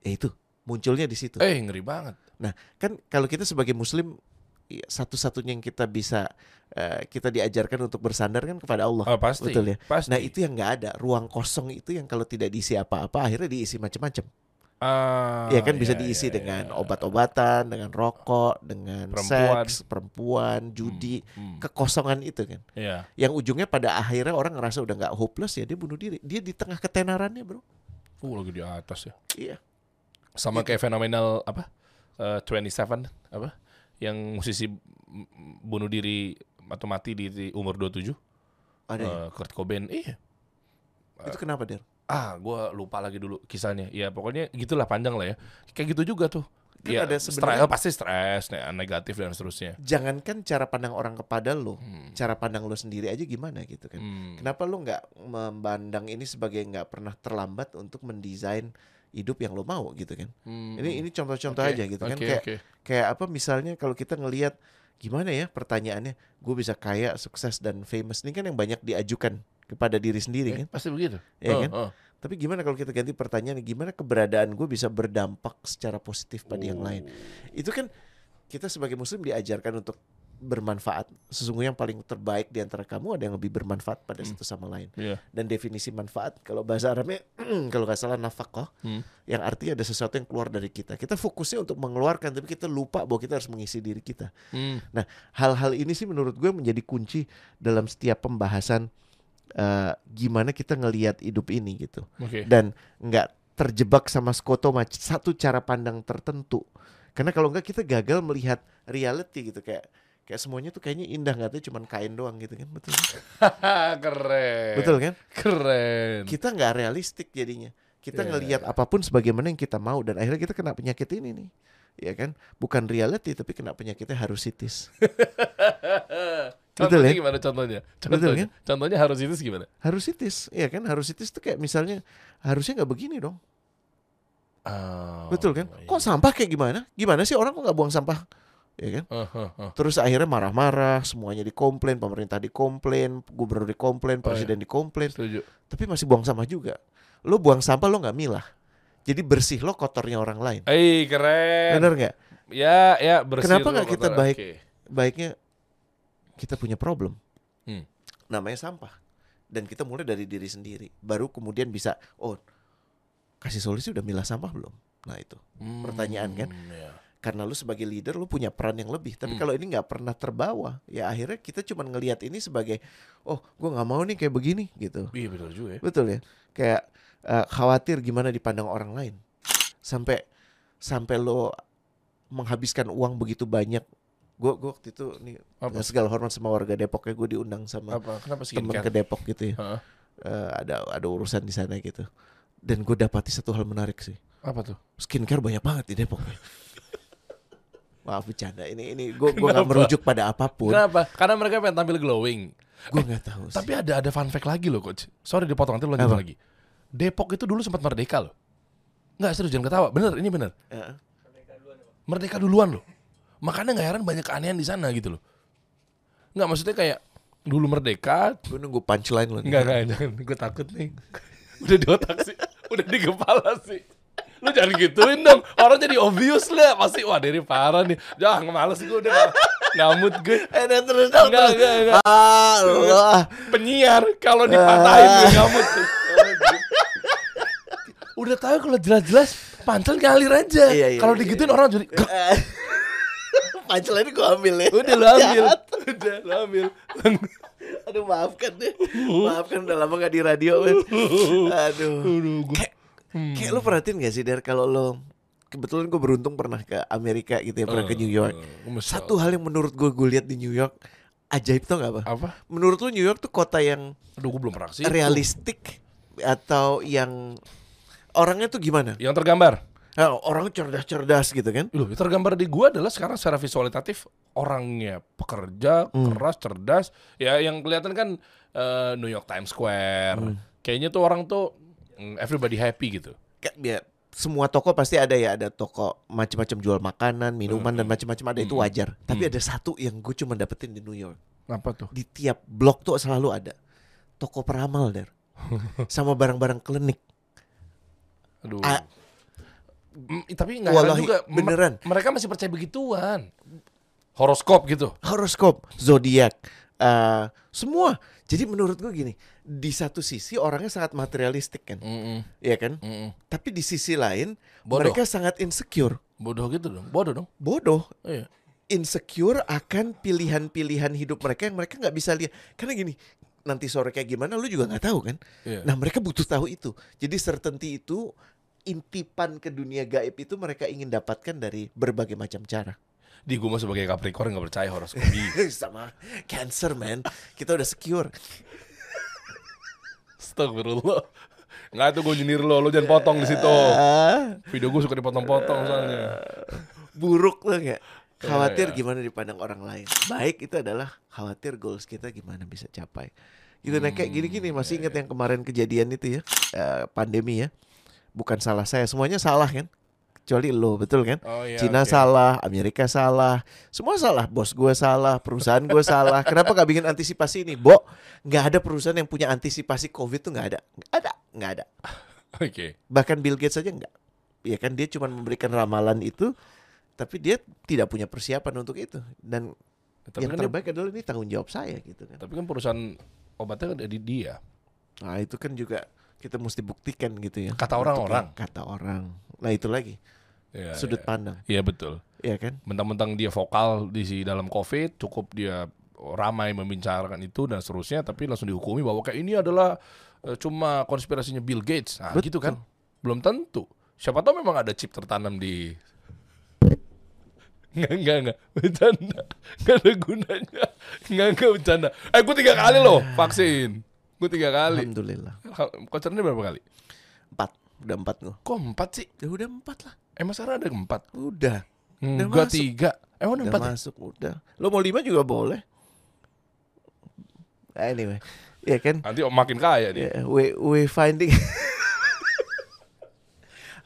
Speaker 1: yaitu munculnya di situ
Speaker 2: eh ngeri banget.
Speaker 1: kan kalau kita sebagai muslim i- satu-satunya yang kita bisa eh, kita diajarkan untuk bersandar kan kepada Allah
Speaker 2: Ah, pasti.
Speaker 1: betul ya
Speaker 2: Pasti.
Speaker 1: Nah itu yang nggak ada ruang kosong itu yang kalau tidak diisi apa-apa akhirnya diisi macam-macam.
Speaker 2: Ah,
Speaker 1: ya kan bisa
Speaker 2: iya,
Speaker 1: diisi
Speaker 2: iya,
Speaker 1: dengan
Speaker 2: iya.
Speaker 1: obat-obatan, dengan rokok, dengan
Speaker 2: Perempuan.
Speaker 1: seks, perempuan, judi,
Speaker 2: Hmm,
Speaker 1: kekosongan itu kan.
Speaker 2: Iya.
Speaker 1: Yang ujungnya pada akhirnya orang ngerasa udah nggak hopeless ya dia bunuh diri. Dia di tengah ketenarannya bro.
Speaker 2: Uh, lagi di atas ya.
Speaker 1: Iya.
Speaker 2: Sama kayak fenomenal apa? Eh, 27 apa? Yang musisi mm, bunuh diri atau mati di, di umur 27.
Speaker 1: Ada ya?
Speaker 2: Eh, Kurt Cobain. Iya.
Speaker 1: Itu kenapa Der?
Speaker 2: Oh, Ah, gua lupa lagi dulu kisahnya. Ya pokoknya gitulah panjang lah ya. Kayak gitu juga tuh.
Speaker 1: Kan
Speaker 2: Iya,
Speaker 1: ada
Speaker 2: stres
Speaker 1: sebenarnya-
Speaker 2: pasti stres, ne- negatif dan seterusnya.
Speaker 1: Jangankan cara pandang orang kepada lo,
Speaker 2: Hmm.
Speaker 1: cara pandang lo sendiri aja gimana gitu kan.
Speaker 2: Hmm.
Speaker 1: Kenapa lo nggak memandang ini sebagai nggak pernah terlambat untuk mendesain hidup yang lo mau gitu kan?
Speaker 2: Hmm.
Speaker 1: Ini ini contoh-contoh
Speaker 2: Oke,
Speaker 1: aja gitu kan
Speaker 2: oke,
Speaker 1: kayak
Speaker 2: oke.
Speaker 1: kayak apa misalnya kalau kita ngelihat gimana ya pertanyaannya gue bisa kaya sukses dan famous ini kan yang banyak diajukan kepada diri sendiri
Speaker 2: Eh,
Speaker 1: kan
Speaker 2: pasti begitu.
Speaker 1: Iya
Speaker 2: Oh,
Speaker 1: kan?
Speaker 2: oh.
Speaker 1: tapi gimana kalau kita ganti pertanyaan gimana keberadaan gue bisa berdampak secara positif pada yang lain
Speaker 2: Oh.
Speaker 1: itu kan kita sebagai muslim diajarkan untuk bermanfaat sesungguhnya yang paling terbaik di antara kamu ada yang lebih bermanfaat pada
Speaker 2: Hmm.
Speaker 1: satu sama lain
Speaker 2: Iya.
Speaker 1: dan definisi manfaat kalau bahasa Arabnya (clears throat) kalau nggak salah nafkah
Speaker 2: Hmm.
Speaker 1: yang artinya ada sesuatu yang keluar dari kita kita fokusnya untuk mengeluarkan tapi kita lupa bahwa kita harus mengisi diri kita
Speaker 2: Hmm.
Speaker 1: hal-hal ini sih menurut gue menjadi kunci dalam setiap pembahasan eh, gimana kita ngelihat hidup ini gitu
Speaker 2: Oke.
Speaker 1: dan nggak terjebak sama skotoma satu cara pandang tertentu Karena kalau enggak kita gagal melihat reality gitu kayak kayak semuanya tuh kayaknya indah nggak tuh cuman kain doang gitu kan betul
Speaker 2: (laughs) keren.
Speaker 1: betul kan
Speaker 2: Keren. (laughs)
Speaker 1: kita nggak realistik jadinya kita
Speaker 2: Iya.
Speaker 1: ngelihat apapun sebagaimana yang kita mau dan akhirnya kita kena penyakit ini nih ya kan bukan reality tapi kena penyakitnya
Speaker 2: (laughs)
Speaker 1: harusitis
Speaker 2: contohnya
Speaker 1: Betul ya?
Speaker 2: gimana contohnya?
Speaker 1: Betul
Speaker 2: Contohnya,
Speaker 1: kan?
Speaker 2: contohnya harus itu gimana?
Speaker 1: harusitis ya kan harusitis tuh kayak misalnya harusnya nggak begini dong
Speaker 2: Oh,
Speaker 1: betul kan
Speaker 2: iya.
Speaker 1: kok sampah kayak gimana gimana sih orang kok nggak buang sampah ya kan
Speaker 2: Oh, oh, oh.
Speaker 1: Terus akhirnya marah-marah, semuanya dikomplain, pemerintah dikomplain, gubernur dikomplain,
Speaker 2: Oh, iya.
Speaker 1: presiden dikomplain,
Speaker 2: Setuju.
Speaker 1: tapi masih buang sampah juga. Lo buang sampah lo nggak milah, jadi bersih lo kotornya orang lain.
Speaker 2: Eh keren.
Speaker 1: Bener nggak?
Speaker 2: Ya ya bersih.
Speaker 1: Kenapa
Speaker 2: lu,
Speaker 1: nggak kita
Speaker 2: kotoran.
Speaker 1: baik?
Speaker 2: Oke.
Speaker 1: Baiknya kita punya problem,
Speaker 2: Hmm.
Speaker 1: namanya sampah, dan kita mulai dari diri sendiri, baru kemudian bisa oh kasih solusi udah milah sampah belum? Nah itu
Speaker 2: Hmm,
Speaker 1: Pertanyaan kan?
Speaker 2: ya.
Speaker 1: karena lu sebagai leader lu punya peran yang lebih tapi
Speaker 2: Hmm.
Speaker 1: kalau ini nggak pernah terbawa ya akhirnya kita cuma ngelihat ini sebagai oh gua nggak mau nih kayak begini gitu
Speaker 2: Iya betul juga ya.
Speaker 1: betul ya kayak eh, khawatir gimana dipandang orang lain sampai sampai lo menghabiskan uang begitu banyak gue gua waktu itu nih
Speaker 2: Apa?
Speaker 1: dengan segala hormat sama warga Depok ya gue diundang sama
Speaker 2: Apa? Kenapa
Speaker 1: temen
Speaker 2: skincare?
Speaker 1: ke Depok gitu ya
Speaker 2: Heeh.
Speaker 1: Eh, ada ada urusan di sana gitu dan gue dapati satu hal menarik sih
Speaker 2: Apa tuh?
Speaker 1: skincare banyak banget di Depok. ya.
Speaker 2: (laughs)
Speaker 1: Maaf bercanda ini ini gue gue nggak
Speaker 2: Kenapa?
Speaker 1: merujuk pada apapun.
Speaker 2: Kenapa? Karena mereka pengen tampil glowing.
Speaker 1: Gue nggak tahu. sih.
Speaker 2: Tapi ada ada fun fact lagi loh coach. Sorry dipotong nanti lu lanjut
Speaker 1: Apa?
Speaker 2: lagi. Depok itu dulu sempat merdeka loh. Enggak serius jangan ketawa. Bener ini bener.
Speaker 1: Heeh.
Speaker 2: Merdeka duluan loh. Makanya nggak heran banyak keanehan di sana gitu loh. Nggak maksudnya kayak dulu merdeka.
Speaker 1: gue nunggu punchline lo. nih.
Speaker 2: Enggak enggak jangan. Gue takut nih. (laughs) Udah di otak sih. Udah di kepala sih. Lu jangan gituin dong. Orang jadi obvious lah. Pasti wah dari parah nih. Jangan males gue udah. Ngamut gue.
Speaker 1: Eh dan terus dong. terus.
Speaker 2: Enggak, enggak, enggak.
Speaker 1: Allah.
Speaker 2: (laughs) penyiar kalau dipatahin gue ngamut (laughs) udah tahu kalau jelas-jelas pantel ngalir aja
Speaker 1: Iya, iya,
Speaker 2: kalau
Speaker 1: iya, iya.
Speaker 2: digituin orang jadi "Grek."
Speaker 1: Eh, punchline gue ambil ya.
Speaker 2: udah lo ambil
Speaker 1: Jahat.
Speaker 2: udah lo ambil
Speaker 1: (laughs) Aduh maafkan deh. Maafkan udah lama gak di radio. men.
Speaker 2: (laughs)
Speaker 1: Aduh.
Speaker 2: Aduh, gua-
Speaker 1: Kayak, kayak lo perhatiin gak sih Dar kalau lo kebetulan gue beruntung pernah ke Amerika gitu ya pernah ke New York.
Speaker 2: Eh, mesra.
Speaker 1: Satu hal yang menurut gue gue lihat di New York ajaib tau gak apa?
Speaker 2: apa
Speaker 1: Menurut lu New York tuh kota yang
Speaker 2: aduh gue belum pernah sih
Speaker 1: realistik atau yang orangnya tuh gimana?
Speaker 2: yang tergambar
Speaker 1: Nah, orang cerdas-cerdas gitu kan?
Speaker 2: Loh, yang tergambar di gua adalah sekarang secara visualitatif orangnya pekerja, keras, cerdas. Ya yang kelihatan kan eh, New York Times Square. Kayaknya tuh orang tuh mm, everybody happy gitu.
Speaker 1: Kayak dia- semua toko pasti ada ya, ada toko macam-macam jual makanan, minuman dan macam-macam ada itu wajar. Tapi ada satu yang gue cuma dapetin di New York.
Speaker 2: Apa tuh?
Speaker 1: Di tiap blok tuh selalu ada toko peramal der, sama barang-barang klinik.
Speaker 2: Aduh.
Speaker 1: A-
Speaker 2: Mm, tapi nggak heran
Speaker 1: Wallahi,
Speaker 2: juga me-
Speaker 1: beneran.
Speaker 2: mereka masih percaya begituan. Horoskop gitu.
Speaker 1: horoskop, zodiak, eh, semua. Jadi menurut gue gini, di satu sisi orangnya sangat materialistik kan, ya kan? Tapi di sisi lain
Speaker 2: Bodoh.
Speaker 1: mereka sangat insecure,
Speaker 2: Bodoh gitu dong. Bodoh dong.
Speaker 1: bodoh,
Speaker 2: Iya.
Speaker 1: insecure akan pilihan-pilihan hidup mereka yang mereka nggak bisa lihat. Karena gini, nanti sore kayak gimana lu juga nggak tahu kan?
Speaker 2: Iya.
Speaker 1: Nah mereka butuh tahu itu. Jadi certainty itu intipan ke dunia gaib itu mereka ingin dapatkan dari berbagai macam cara. (laughs)
Speaker 2: Di gue mah sebagai Capricorn nggak percaya horoskop. Di-
Speaker 1: Sama cancer man, kita udah secure.
Speaker 2: Astagfirullah. Nggak tuh gue nyinir lo, lo jangan potong di situ.
Speaker 1: Ah.
Speaker 2: Video gue suka dipotong-potong soalnya.
Speaker 1: buruk lo nggak khawatir
Speaker 2: iya.
Speaker 1: gimana dipandang orang lain baik itu adalah khawatir goals kita gimana bisa capai gitu nah
Speaker 2: Hmm,
Speaker 1: kayak gini-gini
Speaker 2: iya,
Speaker 1: masih ingat yang kemarin kejadian itu ya eh, pandemi ya bukan salah saya semuanya salah kan kecuali lo betul kan
Speaker 2: Oh, iya,
Speaker 1: Cina
Speaker 2: oke.
Speaker 1: salah Amerika salah semua salah bos gue salah perusahaan gue salah kenapa gak bikin antisipasi ini bo nggak ada perusahaan yang punya antisipasi covid tuh nggak ada nggak ada nggak ada
Speaker 2: Oke.
Speaker 1: bahkan Bill Gates aja enggak ya kan dia cuma memberikan ramalan itu tapi dia tidak punya persiapan untuk itu dan
Speaker 2: Tapi
Speaker 1: yang
Speaker 2: kan dia-
Speaker 1: terbaik adalah ini tanggung jawab saya gitu kan
Speaker 2: tapi kan perusahaan obatnya ada di dia.
Speaker 1: nah itu kan juga kita mesti buktikan gitu ya
Speaker 2: Kata
Speaker 1: Untuk
Speaker 2: orang-orang.
Speaker 1: yang kata orang nah itu lagi
Speaker 2: Iya,
Speaker 1: sudut
Speaker 2: iya.
Speaker 1: pandang
Speaker 2: Iya betul.
Speaker 1: ya kan
Speaker 2: Mentang-mentang dia vokal di si dalam COVID, cukup dia ramai membicarakan itu dan seterusnya, tapi langsung dihukumi bahwa kayak ini adalah eh, cuma konspirasinya Bill Gates. Nah,
Speaker 1: Betul.
Speaker 2: (laughs) gitu kan? Belum tentu. Siapa tahu memang ada chip tertanam di Enggak, enggak, enggak. Bercanda. Enggak ada gunanya. Enggak, enggak bercanda. Eh, gue tiga kali loh vaksin. Gue tiga kali.
Speaker 1: Alhamdulillah.
Speaker 2: Kocernya berapa kali?
Speaker 1: Empat. Udah empat gue.
Speaker 2: Kok empat sih?
Speaker 1: Ya udah empat lah.
Speaker 2: Emang sekarang ada empat?
Speaker 1: Udah.
Speaker 2: Hmm,
Speaker 1: Udah
Speaker 2: gue
Speaker 1: masuk.
Speaker 2: tiga. Emang
Speaker 1: Udah
Speaker 2: empat ya?
Speaker 1: masuk. Udah. Lo mau lima juga boleh. Anyway. Ya kan?
Speaker 2: Nanti makin kaya dia.
Speaker 1: Ya, we, we finding. (laughs)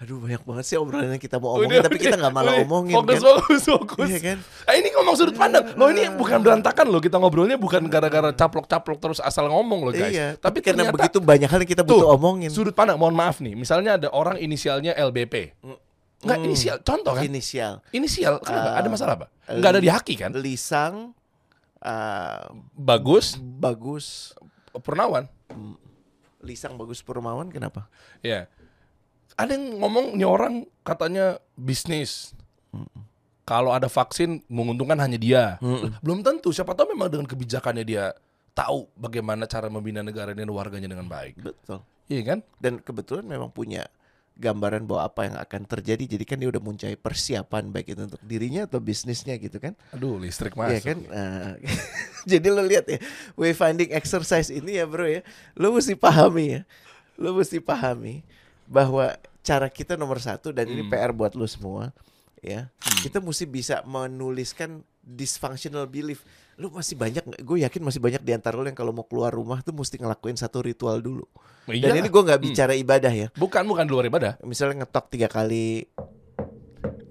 Speaker 1: Aduh banyak banget sih obrolan yang kita mau omongin
Speaker 2: Udah,
Speaker 1: tapi kita
Speaker 2: udah,
Speaker 1: nggak malah
Speaker 2: udah.
Speaker 1: omongin
Speaker 2: Fokus,
Speaker 1: kan.
Speaker 2: fokus, fokus.
Speaker 1: Iya kan?
Speaker 2: Eh, ini ngomong sudut pandang. Loh ini bukan berantakan loh. Kita ngobrolnya bukan gara-gara caplok-caplok terus asal ngomong loh guys.
Speaker 1: Iya,
Speaker 2: Tapi
Speaker 1: karena
Speaker 2: ternyata-
Speaker 1: begitu banyak hal yang kita butuh
Speaker 2: Tuh,
Speaker 1: omongin.
Speaker 2: Sudut pandang, mohon maaf nih. Misalnya ada orang inisialnya LBP. Enggak,
Speaker 1: Hmm.
Speaker 2: inisial. Contoh kan?
Speaker 1: Inisial.
Speaker 2: Inisial, kenapa?
Speaker 1: Ah.
Speaker 2: ada masalah apa? Enggak ada di haki kan?
Speaker 1: Lisang eh,
Speaker 2: Bagus,
Speaker 1: bagus
Speaker 2: Purnawan.
Speaker 1: Lisang bagus Purmawan kenapa?
Speaker 2: Ya. Ada yang ngomong nih orang katanya bisnis. Kalau ada vaksin menguntungkan hanya dia. Lah, Belum tentu, siapa tahu memang dengan kebijakannya dia tahu bagaimana cara membina negara dan warganya dengan baik.
Speaker 1: Betul.
Speaker 2: Iya kan?
Speaker 1: Dan kebetulan memang punya gambaran bahwa apa yang akan terjadi jadi kan dia udah muncai persiapan baik itu untuk dirinya atau bisnisnya gitu kan
Speaker 2: Aduh, listrik
Speaker 1: Iya
Speaker 2: masuk.
Speaker 1: kan? Nah, (laughs) jadi lo lihat ya, wayfinding exercise ini ya bro ya, lo mesti pahami ya, lo mesti pahami bahwa cara kita nomor satu dan ini
Speaker 2: Hmm.
Speaker 1: PR buat lo semua ya, kita mesti bisa menuliskan dysfunctional belief. Lo masih banyak, nggak- gue yakin masih banyak di antara lo yang kalau mau keluar rumah tuh mesti ngelakuin satu ritual dulu. Dan
Speaker 2: Iya.
Speaker 1: ini gue nggak bicara ibadah ya,
Speaker 2: Bukan, bukan di luar ibadah.
Speaker 1: misalnya ngetok tiga kali,
Speaker 2: (laughs)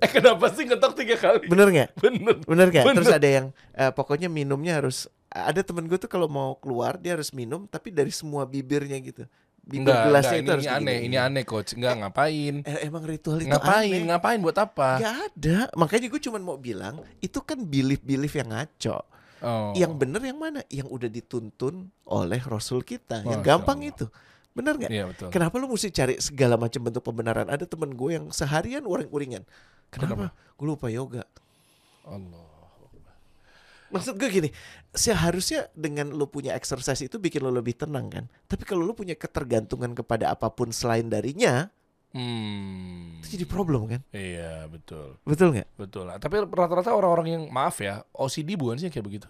Speaker 2: Eh kenapa sih ngetok tiga kali?
Speaker 1: bener nggak?
Speaker 2: Bener.
Speaker 1: (laughs) Bener gak?
Speaker 2: Bener.
Speaker 1: Terus ada yang eh, pokoknya minumnya harus ada temen gue tuh kalau mau keluar dia harus minum tapi dari semua bibirnya gitu. Bibir
Speaker 2: Enggak,
Speaker 1: gelasnya
Speaker 2: enggak,
Speaker 1: itu harus
Speaker 2: ini, ini aneh,
Speaker 1: begini.
Speaker 2: ini aneh coach. Enggak ngapain.
Speaker 1: Eh, emang ritual itu
Speaker 2: Ngapain, Nah.
Speaker 1: aneh. Iya,
Speaker 2: ngapain buat apa?
Speaker 1: Gak ada. Makanya gue cuman mau bilang itu kan belief-belief yang ngaco.
Speaker 2: Oh.
Speaker 1: Yang bener yang mana? Yang udah dituntun oleh Rasul kita. yang
Speaker 2: Masya
Speaker 1: gampang
Speaker 2: Allah.
Speaker 1: itu. Bener gak?
Speaker 2: Iya betul.
Speaker 1: Kenapa lu mesti cari segala macam bentuk pembenaran? Ada temen gue yang seharian uring-uringan. Kenapa? Gue lupa yoga.
Speaker 2: Allah.
Speaker 1: Maksud gue gini, seharusnya dengan lu punya exercise itu bikin lu lebih tenang kan. Tapi kalau lu punya ketergantungan kepada apapun selain darinya,
Speaker 2: Hmm.
Speaker 1: itu jadi problem kan?
Speaker 2: Iya betul,
Speaker 1: Betul nggak?
Speaker 2: betul. lah. Tapi rata-rata orang-orang yang maaf ya, OCD bukan sih yang kayak begitu.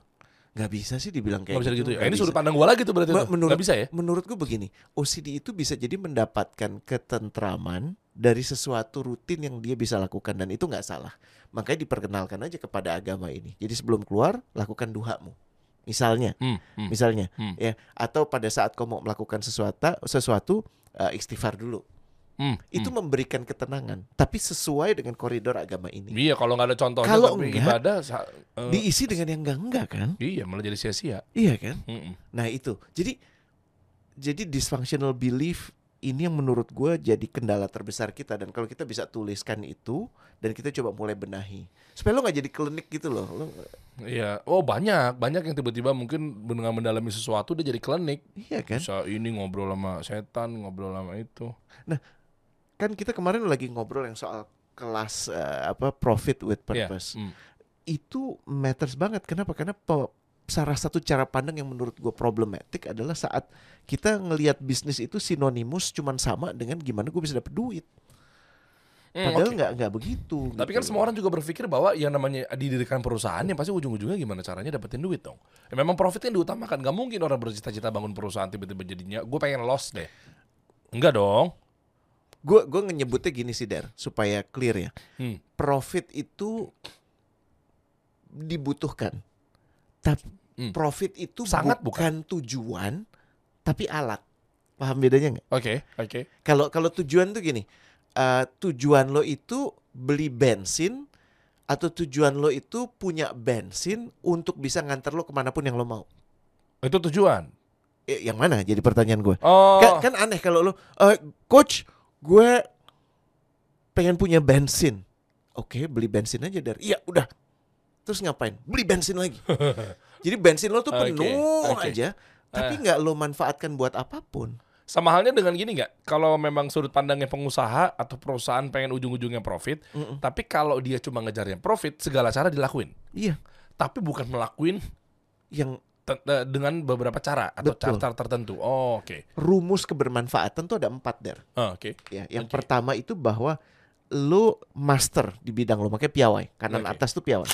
Speaker 1: Nggak bisa sih dibilang
Speaker 2: Gak
Speaker 1: kayak
Speaker 2: bisa gitu ya.
Speaker 1: nggak
Speaker 2: Ini
Speaker 1: bisa.
Speaker 2: sudut pandang gua lagi tuh berarti.
Speaker 1: Ma-
Speaker 2: tuh.
Speaker 1: menurut-
Speaker 2: Nggak bisa ya.
Speaker 1: Menurut gue begini, OCD itu bisa jadi mendapatkan ketentraman dari sesuatu rutin yang dia bisa lakukan dan itu nggak salah. Makanya diperkenalkan aja kepada agama ini. Jadi sebelum keluar, lakukan duhamu. Misalnya,
Speaker 2: Hmm, hmm.
Speaker 1: misalnya
Speaker 2: Hmm.
Speaker 1: ya atau pada saat kau mau melakukan sesuatu sesuatu eh, istighfar dulu
Speaker 2: Hmm,
Speaker 1: itu
Speaker 2: hmm.
Speaker 1: memberikan ketenangan tapi sesuai dengan koridor agama ini
Speaker 2: Iya kalau nggak ada contohnya
Speaker 1: Kalau
Speaker 2: tapi
Speaker 1: enggak,
Speaker 2: ibadah sa- eh,
Speaker 1: diisi dengan yang enggak enggak kan
Speaker 2: iya malah jadi sia-sia. Hmm,
Speaker 1: iya kan
Speaker 2: Mm-mm.
Speaker 1: nah itu jadi jadi dysfunctional belief ini yang menurut gue jadi kendala terbesar kita dan kalau kita bisa tuliskan itu dan kita coba mulai benahi supaya lo nggak jadi klinik gitu loh lo,
Speaker 2: Iya. Oh banyak, banyak yang tiba-tiba mungkin dengan mendalami sesuatu dia jadi klinik.
Speaker 1: iya kan
Speaker 2: Bisa ini ngobrol sama setan, ngobrol sama itu.
Speaker 1: kan kita kemarin lagi ngobrol yang soal kelas eh, apa profit with
Speaker 2: Iya,
Speaker 1: purpose
Speaker 2: mm.
Speaker 1: itu matters banget. Kenapa? Karena pe- salah satu cara pandang yang menurut gue problematik adalah saat kita ngelihat bisnis itu sinonimus cuman sama dengan gimana gue bisa dapet duit.
Speaker 2: Hmm,
Speaker 1: Padahal
Speaker 2: oke.
Speaker 1: nggak nggak begitu.
Speaker 2: Tapi
Speaker 1: gitu
Speaker 2: kan
Speaker 1: loh.
Speaker 2: semua orang juga berpikir bahwa yang namanya didirikan perusahaan yang pasti ujung-ujungnya gimana caranya dapetin duit dong. Ya, memang profit yang diutamakan. Gak mungkin orang bercita-cita bangun perusahaan tiba-tiba jadinya gue pengen loss deh. Enggak dong.
Speaker 1: Gue gue nyebutnya gini sih der supaya clear ya.
Speaker 2: Hmm.
Speaker 1: Profit itu dibutuhkan. Tapi
Speaker 2: Hmm.
Speaker 1: profit itu
Speaker 2: Sangat
Speaker 1: bukan tujuan tapi alat. Paham bedanya nggak?
Speaker 2: Oke, oke.
Speaker 1: Kalau kalau tujuan tuh gini, eh, tujuan lo itu beli bensin atau tujuan lo itu punya bensin untuk bisa nganter lo kemanapun yang lo mau.
Speaker 2: Itu tujuan.
Speaker 1: Eh, yang mana? Jadi pertanyaan gue.
Speaker 2: Oh.
Speaker 1: Kan, kan aneh kalau lo, eh, coach, gue pengen punya bensin. Oke, beli bensin aja dari. Iya, udah. Terus ngapain? Beli bensin lagi.
Speaker 2: (laughs)
Speaker 1: Jadi bensin lo tuh
Speaker 2: Oke,
Speaker 1: penuh
Speaker 2: oke. Eh.
Speaker 1: aja, tapi nggak lo manfaatkan buat apapun.
Speaker 2: Sama halnya dengan gini nggak? Kalau memang sudut pandangnya pengusaha atau perusahaan pengen ujung-ujungnya profit,
Speaker 1: Mm-mm.
Speaker 2: tapi kalau dia cuma ngejarnya profit, segala cara dilakuin.
Speaker 1: Iya,
Speaker 2: Tapi bukan melakuin
Speaker 1: yang
Speaker 2: te- te- dengan beberapa cara atau
Speaker 1: Betul.
Speaker 2: cara tertentu. Oh, oke.
Speaker 1: rumus kebermanfaatan tuh ada empat der.
Speaker 2: Ah, Oke.
Speaker 1: Ya, yang
Speaker 2: Oke.
Speaker 1: pertama itu bahwa lu master di bidang lu, makanya piawai. Kanan
Speaker 2: Oke.
Speaker 1: atas tuh piawai.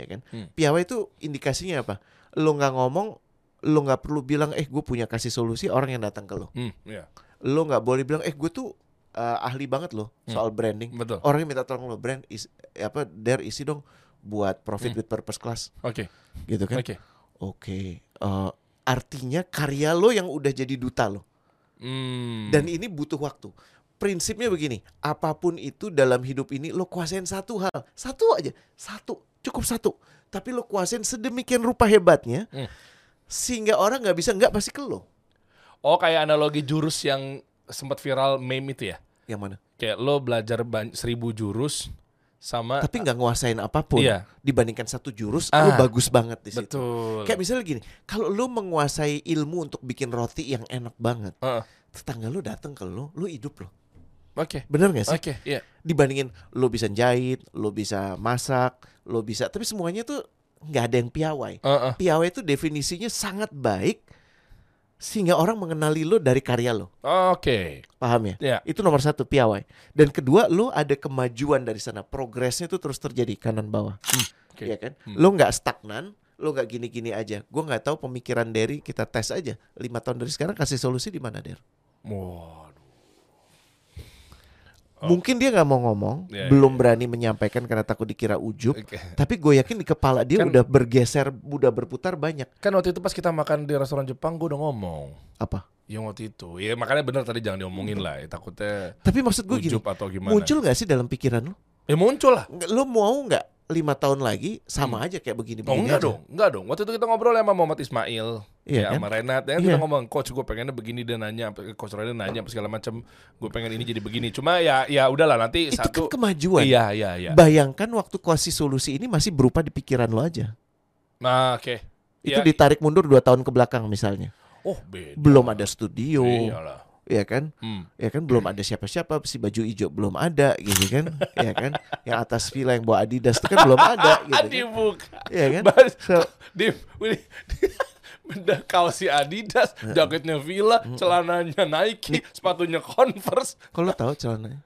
Speaker 1: Ya kan?
Speaker 2: Hmm.
Speaker 1: Piawai itu indikasinya apa? Lu nggak ngomong, lu nggak perlu bilang eh gue punya kasih solusi orang yang datang ke lu.
Speaker 2: Hmm, iya.
Speaker 1: Lu nggak boleh bilang eh gue tuh eh, ahli banget loh soal branding.
Speaker 2: Hmm. Betul.
Speaker 1: Orang yang minta tolong lo brand is, eh, apa there isi dong buat profit
Speaker 2: Hmm.
Speaker 1: with purpose class
Speaker 2: Oke.
Speaker 1: gitu kan.
Speaker 2: Oke.
Speaker 1: Oke. eh, artinya karya lo yang udah jadi duta lo.
Speaker 2: Hmm.
Speaker 1: Dan ini butuh waktu. Prinsipnya begini, apapun itu dalam hidup ini lo kuasain satu hal, satu aja, satu, cukup satu. Tapi lo kuasain sedemikian rupa hebatnya,
Speaker 2: Hmm.
Speaker 1: sehingga orang nggak bisa nggak pasti ke lo.
Speaker 2: Oh, kayak analogi jurus yang sempat viral meme itu ya.
Speaker 1: Yang mana?
Speaker 2: Kayak lo belajar ban- seribu jurus sama
Speaker 1: Tapi nggak nguasain apapun
Speaker 2: Ah, Iya.
Speaker 1: dibandingkan satu jurus, lo
Speaker 2: Ah.
Speaker 1: bagus banget di situ.
Speaker 2: betul.
Speaker 1: Iya Kayak misalnya gini, kalau lo menguasai ilmu untuk bikin roti yang enak banget,
Speaker 2: Heeh.
Speaker 1: tetangga lo datang ke lo, lo hidup lo.
Speaker 2: Oke.
Speaker 1: Bener gak sih?
Speaker 2: Oke, iya.
Speaker 1: dibandingin lo bisa jahit, lo bisa masak, lo bisa, tapi semuanya tuh nggak ada yang piawai.
Speaker 2: Heeh.
Speaker 1: Piawai itu definisinya sangat baik sehingga orang mengenali lo dari karya lo,
Speaker 2: Oke.
Speaker 1: paham ya?
Speaker 2: Ya.
Speaker 1: Itu nomor satu piawai. Dan kedua lo ada kemajuan dari sana, progresnya itu terus terjadi kanan bawah,
Speaker 2: Oke.
Speaker 1: ya kan?
Speaker 2: Hmm.
Speaker 1: Lo nggak stagnan, lo nggak gini-gini aja. Gue nggak tahu pemikiran dari kita tes aja. Lima tahun dari sekarang kasih solusi di mana Der?
Speaker 2: Waduh. Oh.
Speaker 1: Mungkin dia nggak mau ngomong,
Speaker 2: Ya, ya,
Speaker 1: belum
Speaker 2: ya.
Speaker 1: berani menyampaikan karena takut dikira ujub.
Speaker 2: Oke.
Speaker 1: Tapi gue yakin di kepala dia
Speaker 2: Kan-
Speaker 1: udah bergeser, udah berputar banyak.
Speaker 2: Kan waktu itu pas kita makan di restoran Jepang, gue udah ngomong.
Speaker 1: Apa?
Speaker 2: Yang waktu itu. Ya makanya bener tadi jangan diomongin lah. ya, Takutnya
Speaker 1: Tapi maksud gue gini,
Speaker 2: ujub atau gimana.
Speaker 1: muncul gak sih dalam pikiran lo?
Speaker 2: Ya muncul lah.
Speaker 1: Nggak- Lo mau nggak lima tahun lagi sama aja kayak begini?
Speaker 2: Oh
Speaker 1: begini
Speaker 2: enggak
Speaker 1: aja?
Speaker 2: dong, enggak dong. Waktu itu kita ngobrol sama Muhammad Ismail,
Speaker 1: Iya
Speaker 2: ya,
Speaker 1: kan?
Speaker 2: sama Renat. Ya, kan kita
Speaker 1: Iya.
Speaker 2: ngomong, coach gue pengennya begini dan nanya, coach Renat nanya apa segala macam. Gue pengen ini jadi begini. Cuma ya ya udahlah nanti
Speaker 1: Itu
Speaker 2: satu.
Speaker 1: kan kemajuan.
Speaker 2: Iya iya iya.
Speaker 1: Bayangkan waktu kasih solusi ini masih berupa di pikiran lo aja.
Speaker 2: Nah, oke.
Speaker 1: Itu
Speaker 2: Ya,
Speaker 1: ditarik mundur dua tahun ke belakang misalnya.
Speaker 2: Oh beda.
Speaker 1: Belum ada studio,
Speaker 2: Iyalah.
Speaker 1: ya kan?
Speaker 2: Iya. Hmm.
Speaker 1: Ya kan belum ada siapa-siapa si baju hijau belum ada gitu kan. ya kan? Yang atas villa yang bawa Adidas itu kan belum ada
Speaker 2: (laughs)
Speaker 1: gitu kan.
Speaker 2: Dibuka.
Speaker 1: Ya kan?
Speaker 2: Baris-
Speaker 1: So-
Speaker 2: Dim, ini- (laughs) benda kaos si Adidas, jaketnya Villa, celananya Nike, sepatunya Converse.
Speaker 1: Kalau tahu celananya.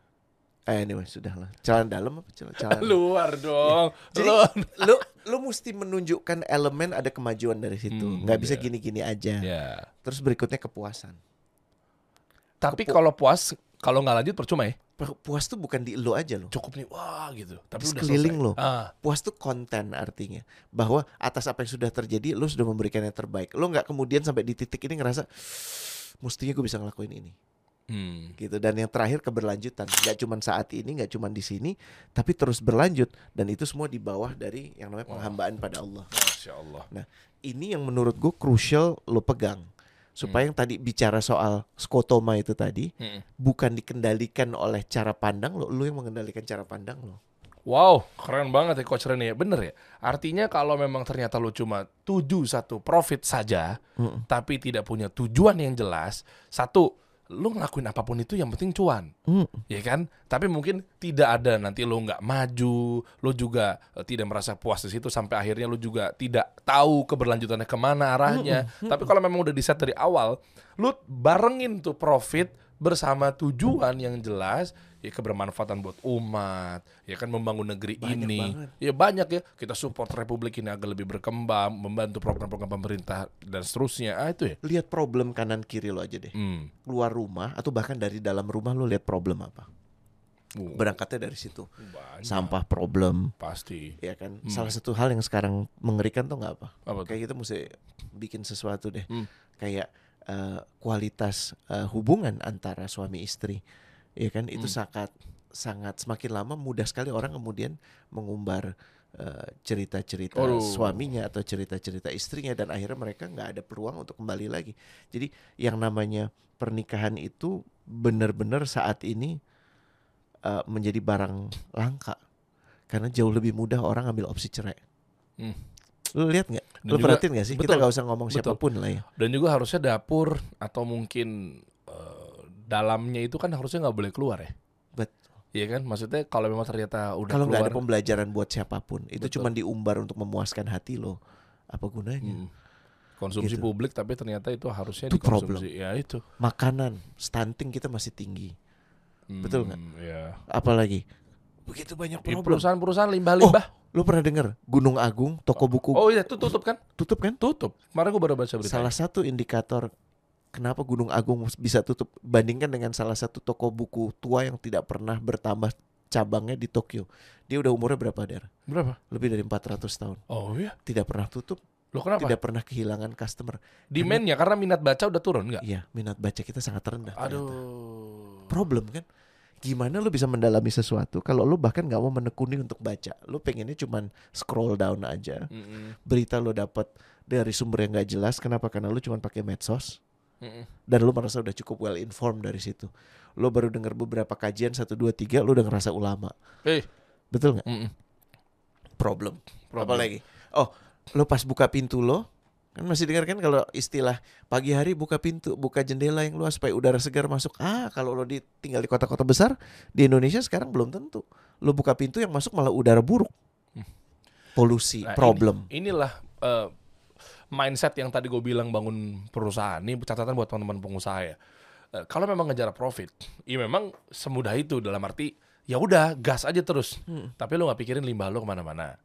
Speaker 1: Eh, anyway, sudahlah. Celana dalam apa celana? celana.
Speaker 2: Luar dong.
Speaker 1: Iya. Jadi
Speaker 2: Luar.
Speaker 1: lu lu mesti menunjukkan elemen ada kemajuan dari situ.
Speaker 2: Hmm,
Speaker 1: nggak bisa
Speaker 2: iya.
Speaker 1: gini-gini aja.
Speaker 2: Ya.
Speaker 1: Terus berikutnya kepuasan.
Speaker 2: Tapi
Speaker 1: Kepu-
Speaker 2: kalau puas, kalau nggak lanjut percuma ya.
Speaker 1: Per- Puas tuh bukan di lo aja loh.
Speaker 2: Cukup nih, wah gitu. Tapi
Speaker 1: Terus
Speaker 2: udah
Speaker 1: keliling
Speaker 2: selesai.
Speaker 1: lo.
Speaker 2: Ah,
Speaker 1: Puas tuh konten artinya. Bahwa atas apa yang sudah terjadi lu sudah memberikan yang terbaik. Lu nggak kemudian sampai di titik ini ngerasa mestinya gue bisa ngelakuin ini
Speaker 2: hmm.
Speaker 1: gitu dan yang terakhir keberlanjutan nggak cuman saat ini nggak cuman di sini tapi terus berlanjut dan itu semua di bawah dari yang namanya
Speaker 2: Wah.
Speaker 1: penghambaan pada Allah
Speaker 2: Masya Allah.
Speaker 1: Nah, ini yang menurut gue crucial lo pegang
Speaker 2: Hmm.
Speaker 1: supaya yang tadi bicara soal skotoma itu tadi
Speaker 2: Mm-mm.
Speaker 1: bukan dikendalikan oleh cara pandang lo lo yang mengendalikan cara pandang lo
Speaker 2: Wow, keren banget ya Coach Rene. Bener ya? Artinya kalau memang ternyata lo cuma tuju satu profit saja,
Speaker 1: Mm-mm.
Speaker 2: tapi tidak punya tujuan yang jelas, satu, lo ngelakuin apapun itu yang penting cuan. ya kan? Tapi mungkin tidak ada nanti lo nggak maju, lo juga eh, tidak merasa puas di situ sampai akhirnya lo juga tidak tahu keberlanjutannya kemana arahnya. Tapi kalau memang udah di set dari awal, lo barengin tuh profit bersama tujuan yang jelas ya kebermanfaatan buat umat ya kan membangun negeri
Speaker 1: Banyak
Speaker 2: ini
Speaker 1: banget.
Speaker 2: ya banyak ya kita support republik ini agar lebih berkembang membantu program-program pemerintah dan seterusnya ah itu ya
Speaker 1: lihat problem kanan kiri lo aja deh
Speaker 2: hmm.
Speaker 1: keluar rumah atau bahkan dari dalam rumah lo lihat problem apa
Speaker 2: Oh. Uh,
Speaker 1: berangkatnya dari situ
Speaker 2: banyak
Speaker 1: sampah problem
Speaker 2: pasti
Speaker 1: ya kan
Speaker 2: Hmm.
Speaker 1: salah satu hal yang sekarang mengerikan tuh nggak apa
Speaker 2: apa tuh?
Speaker 1: kayak kita mesti bikin sesuatu deh
Speaker 2: Hmm.
Speaker 1: kayak eh, kualitas eh, hubungan antara suami istri ya kan itu
Speaker 2: Hmm.
Speaker 1: sangat sangat semakin lama mudah sekali orang kemudian mengumbar eh, cerita-cerita
Speaker 2: Aduh.
Speaker 1: suaminya atau cerita-cerita istrinya dan akhirnya mereka nggak ada peluang untuk kembali lagi jadi yang namanya pernikahan itu benar-benar saat ini eh, menjadi barang langka karena jauh lebih mudah orang ambil opsi cerai
Speaker 2: Hmm.
Speaker 1: lu lihat nggak
Speaker 2: Dan
Speaker 1: lu
Speaker 2: juga-
Speaker 1: perhatiin nggak sih kita
Speaker 2: betul.
Speaker 1: nggak usah ngomong
Speaker 2: Betul.
Speaker 1: siapapun lah ya
Speaker 2: Dan juga harusnya dapur atau mungkin eh, dalamnya itu kan harusnya nggak boleh keluar ya.
Speaker 1: Betul.
Speaker 2: Iya kan? Maksudnya kalau memang ternyata udah
Speaker 1: kalau nggak
Speaker 2: keluar.
Speaker 1: ada pembelajaran buat siapapun itu
Speaker 2: Betul.
Speaker 1: cuma diumbar untuk memuaskan hati lo apa gunanya
Speaker 2: Mm.
Speaker 1: Gitu.
Speaker 2: konsumsi publik tapi ternyata itu harusnya
Speaker 1: Itu
Speaker 2: dikonsumsi. Ya itu.
Speaker 1: makanan stunting kita masih tinggi Betul nggak?
Speaker 2: Iya.
Speaker 1: apalagi Begitu banyak
Speaker 2: Di
Speaker 1: problem.
Speaker 2: perusahaan-perusahaan limbah-limbah.
Speaker 1: Lu pernah dengar Gunung Agung, toko buku
Speaker 2: Oh, iya, itu tutup kan?
Speaker 1: tutup kan?
Speaker 2: Tutup. Kemarin gue baru baca berita.
Speaker 1: Salah satu indikator kenapa Gunung Agung bisa tutup bandingkan dengan salah satu toko buku tua yang tidak pernah bertambah cabangnya di Tokyo. Dia udah umurnya berapa, Der?
Speaker 2: Berapa?
Speaker 1: Lebih dari 400 tahun.
Speaker 2: Oh iya.
Speaker 1: Tidak pernah tutup,
Speaker 2: Lo kenapa?
Speaker 1: tidak pernah kehilangan customer.
Speaker 2: Demand-nya karena minat baca udah turun nggak?
Speaker 1: Iya, minat baca kita sangat rendah. ternyata.
Speaker 2: Aduh.
Speaker 1: Problem kan? Gimana lu bisa mendalami sesuatu kalau lu bahkan nggak mau menekuni untuk baca. Lu pengennya cuman scroll down aja.
Speaker 2: Mm-mm.
Speaker 1: Berita lu dapat dari sumber yang nggak jelas. Kenapa? Karena lu cuman pakai medsos.
Speaker 2: Mm-mm.
Speaker 1: dan lu merasa udah cukup well informed dari situ. Lu baru dengar beberapa kajian 1 2 3 lu udah ngerasa ulama.
Speaker 2: Eh,
Speaker 1: Betul nggak?
Speaker 2: mm-mm.
Speaker 1: Problem.
Speaker 2: Problem.
Speaker 1: Apa lagi? Oh, lu pas buka pintu lo kan masih dengar kan kalau istilah pagi hari buka pintu, buka jendela yang luas supaya udara segar masuk. Ah, kalau lo di, tinggal di kota-kota besar di Indonesia sekarang belum tentu. Lu buka pintu yang masuk malah udara buruk. Polusi,
Speaker 2: Hmm. Nah, ini-
Speaker 1: problem.
Speaker 2: inilah eh, mindset yang tadi gue bilang bangun perusahaan. Ini catatan buat teman-teman pengusaha ya. Eh, kalau memang ngejar profit, ya memang semudah itu dalam arti ya udah gas aja terus. Tapi lu nggak pikirin limbah lu kemana-mana.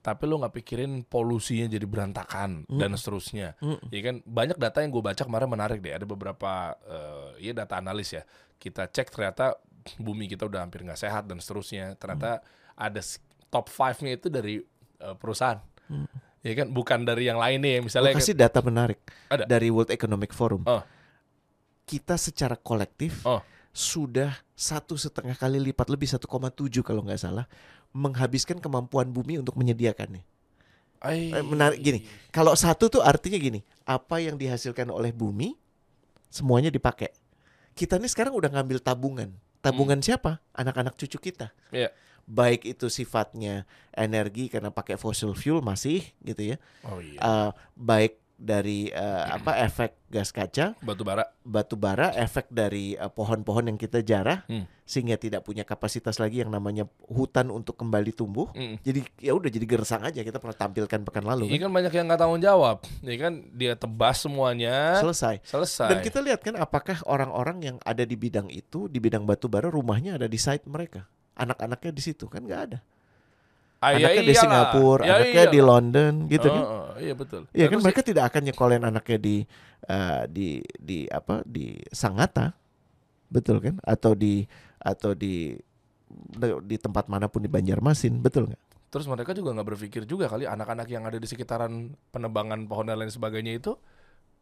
Speaker 2: Tapi lu nggak pikirin polusinya jadi berantakan dan seterusnya. Ya kan banyak data yang gue baca kemarin menarik deh. Ada beberapa eh, ya data analis ya. Kita cek ternyata bumi kita udah hampir nggak sehat dan seterusnya. Ternyata
Speaker 1: Hmm.
Speaker 2: ada s- top 5-nya itu dari eh, perusahaan. Ya kan bukan dari yang lainnya
Speaker 1: Hmm.
Speaker 2: ya
Speaker 1: Gua
Speaker 2: misalnya kayak-
Speaker 1: kasih data menarik
Speaker 2: Ada.
Speaker 1: dari World Economic Forum.
Speaker 2: Oh.
Speaker 1: Kita secara kolektif
Speaker 2: Oh.
Speaker 1: sudah satu setengah kali lipat lebih 1,7 kalau nggak salah menghabiskan kemampuan bumi untuk menyediakannya.
Speaker 2: Ai.
Speaker 1: Eh, menarik gini. Kalau satu tuh artinya gini, apa yang dihasilkan oleh bumi semuanya dipakai. Kita nih sekarang udah ngambil tabungan. Tabungan siapa? Anak-anak cucu kita.
Speaker 2: Hmm. Iya.
Speaker 1: Baik itu sifatnya energi karena pakai fossil fuel masih gitu ya
Speaker 2: Oh iya.
Speaker 1: eh baik dari
Speaker 2: (clears throat)
Speaker 1: eh, apa efek gas kaca,
Speaker 2: Batu bara.
Speaker 1: batu bara, efek dari eh, pohon-pohon yang kita jarah
Speaker 2: Hmm.
Speaker 1: sehingga tidak punya kapasitas lagi yang namanya hutan untuk kembali tumbuh.
Speaker 2: Mm.
Speaker 1: Jadi ya udah jadi gersang aja kita pernah tampilkan pekan lalu.
Speaker 2: Iya
Speaker 1: kan?
Speaker 2: kan banyak yang nggak tanggung jawab. Iya kan dia tebas semuanya.
Speaker 1: Selesai.
Speaker 2: Selesai.
Speaker 1: Dan kita lihat kan apakah orang-orang yang ada di bidang itu, di bidang batu bara rumahnya ada di site mereka. Anak-anaknya di situ kan nggak ada.
Speaker 2: Ah, ya
Speaker 1: Anaknya di
Speaker 2: iyalah.
Speaker 1: Singapura,
Speaker 2: Ya
Speaker 1: anaknya di
Speaker 2: iyalah.
Speaker 1: London gitu kan.
Speaker 2: Oh, oh, iya betul.
Speaker 1: Iya kan
Speaker 2: Terus
Speaker 1: mereka tidak akan nyekolin anaknya di eh, di di apa di Sangatta. Betul kan? Atau di atau di di tempat manapun di Banjarmasin, betul nggak?
Speaker 2: Terus mereka juga nggak berpikir juga kali anak-anak yang ada di sekitaran penebangan pohon dan lain sebagainya itu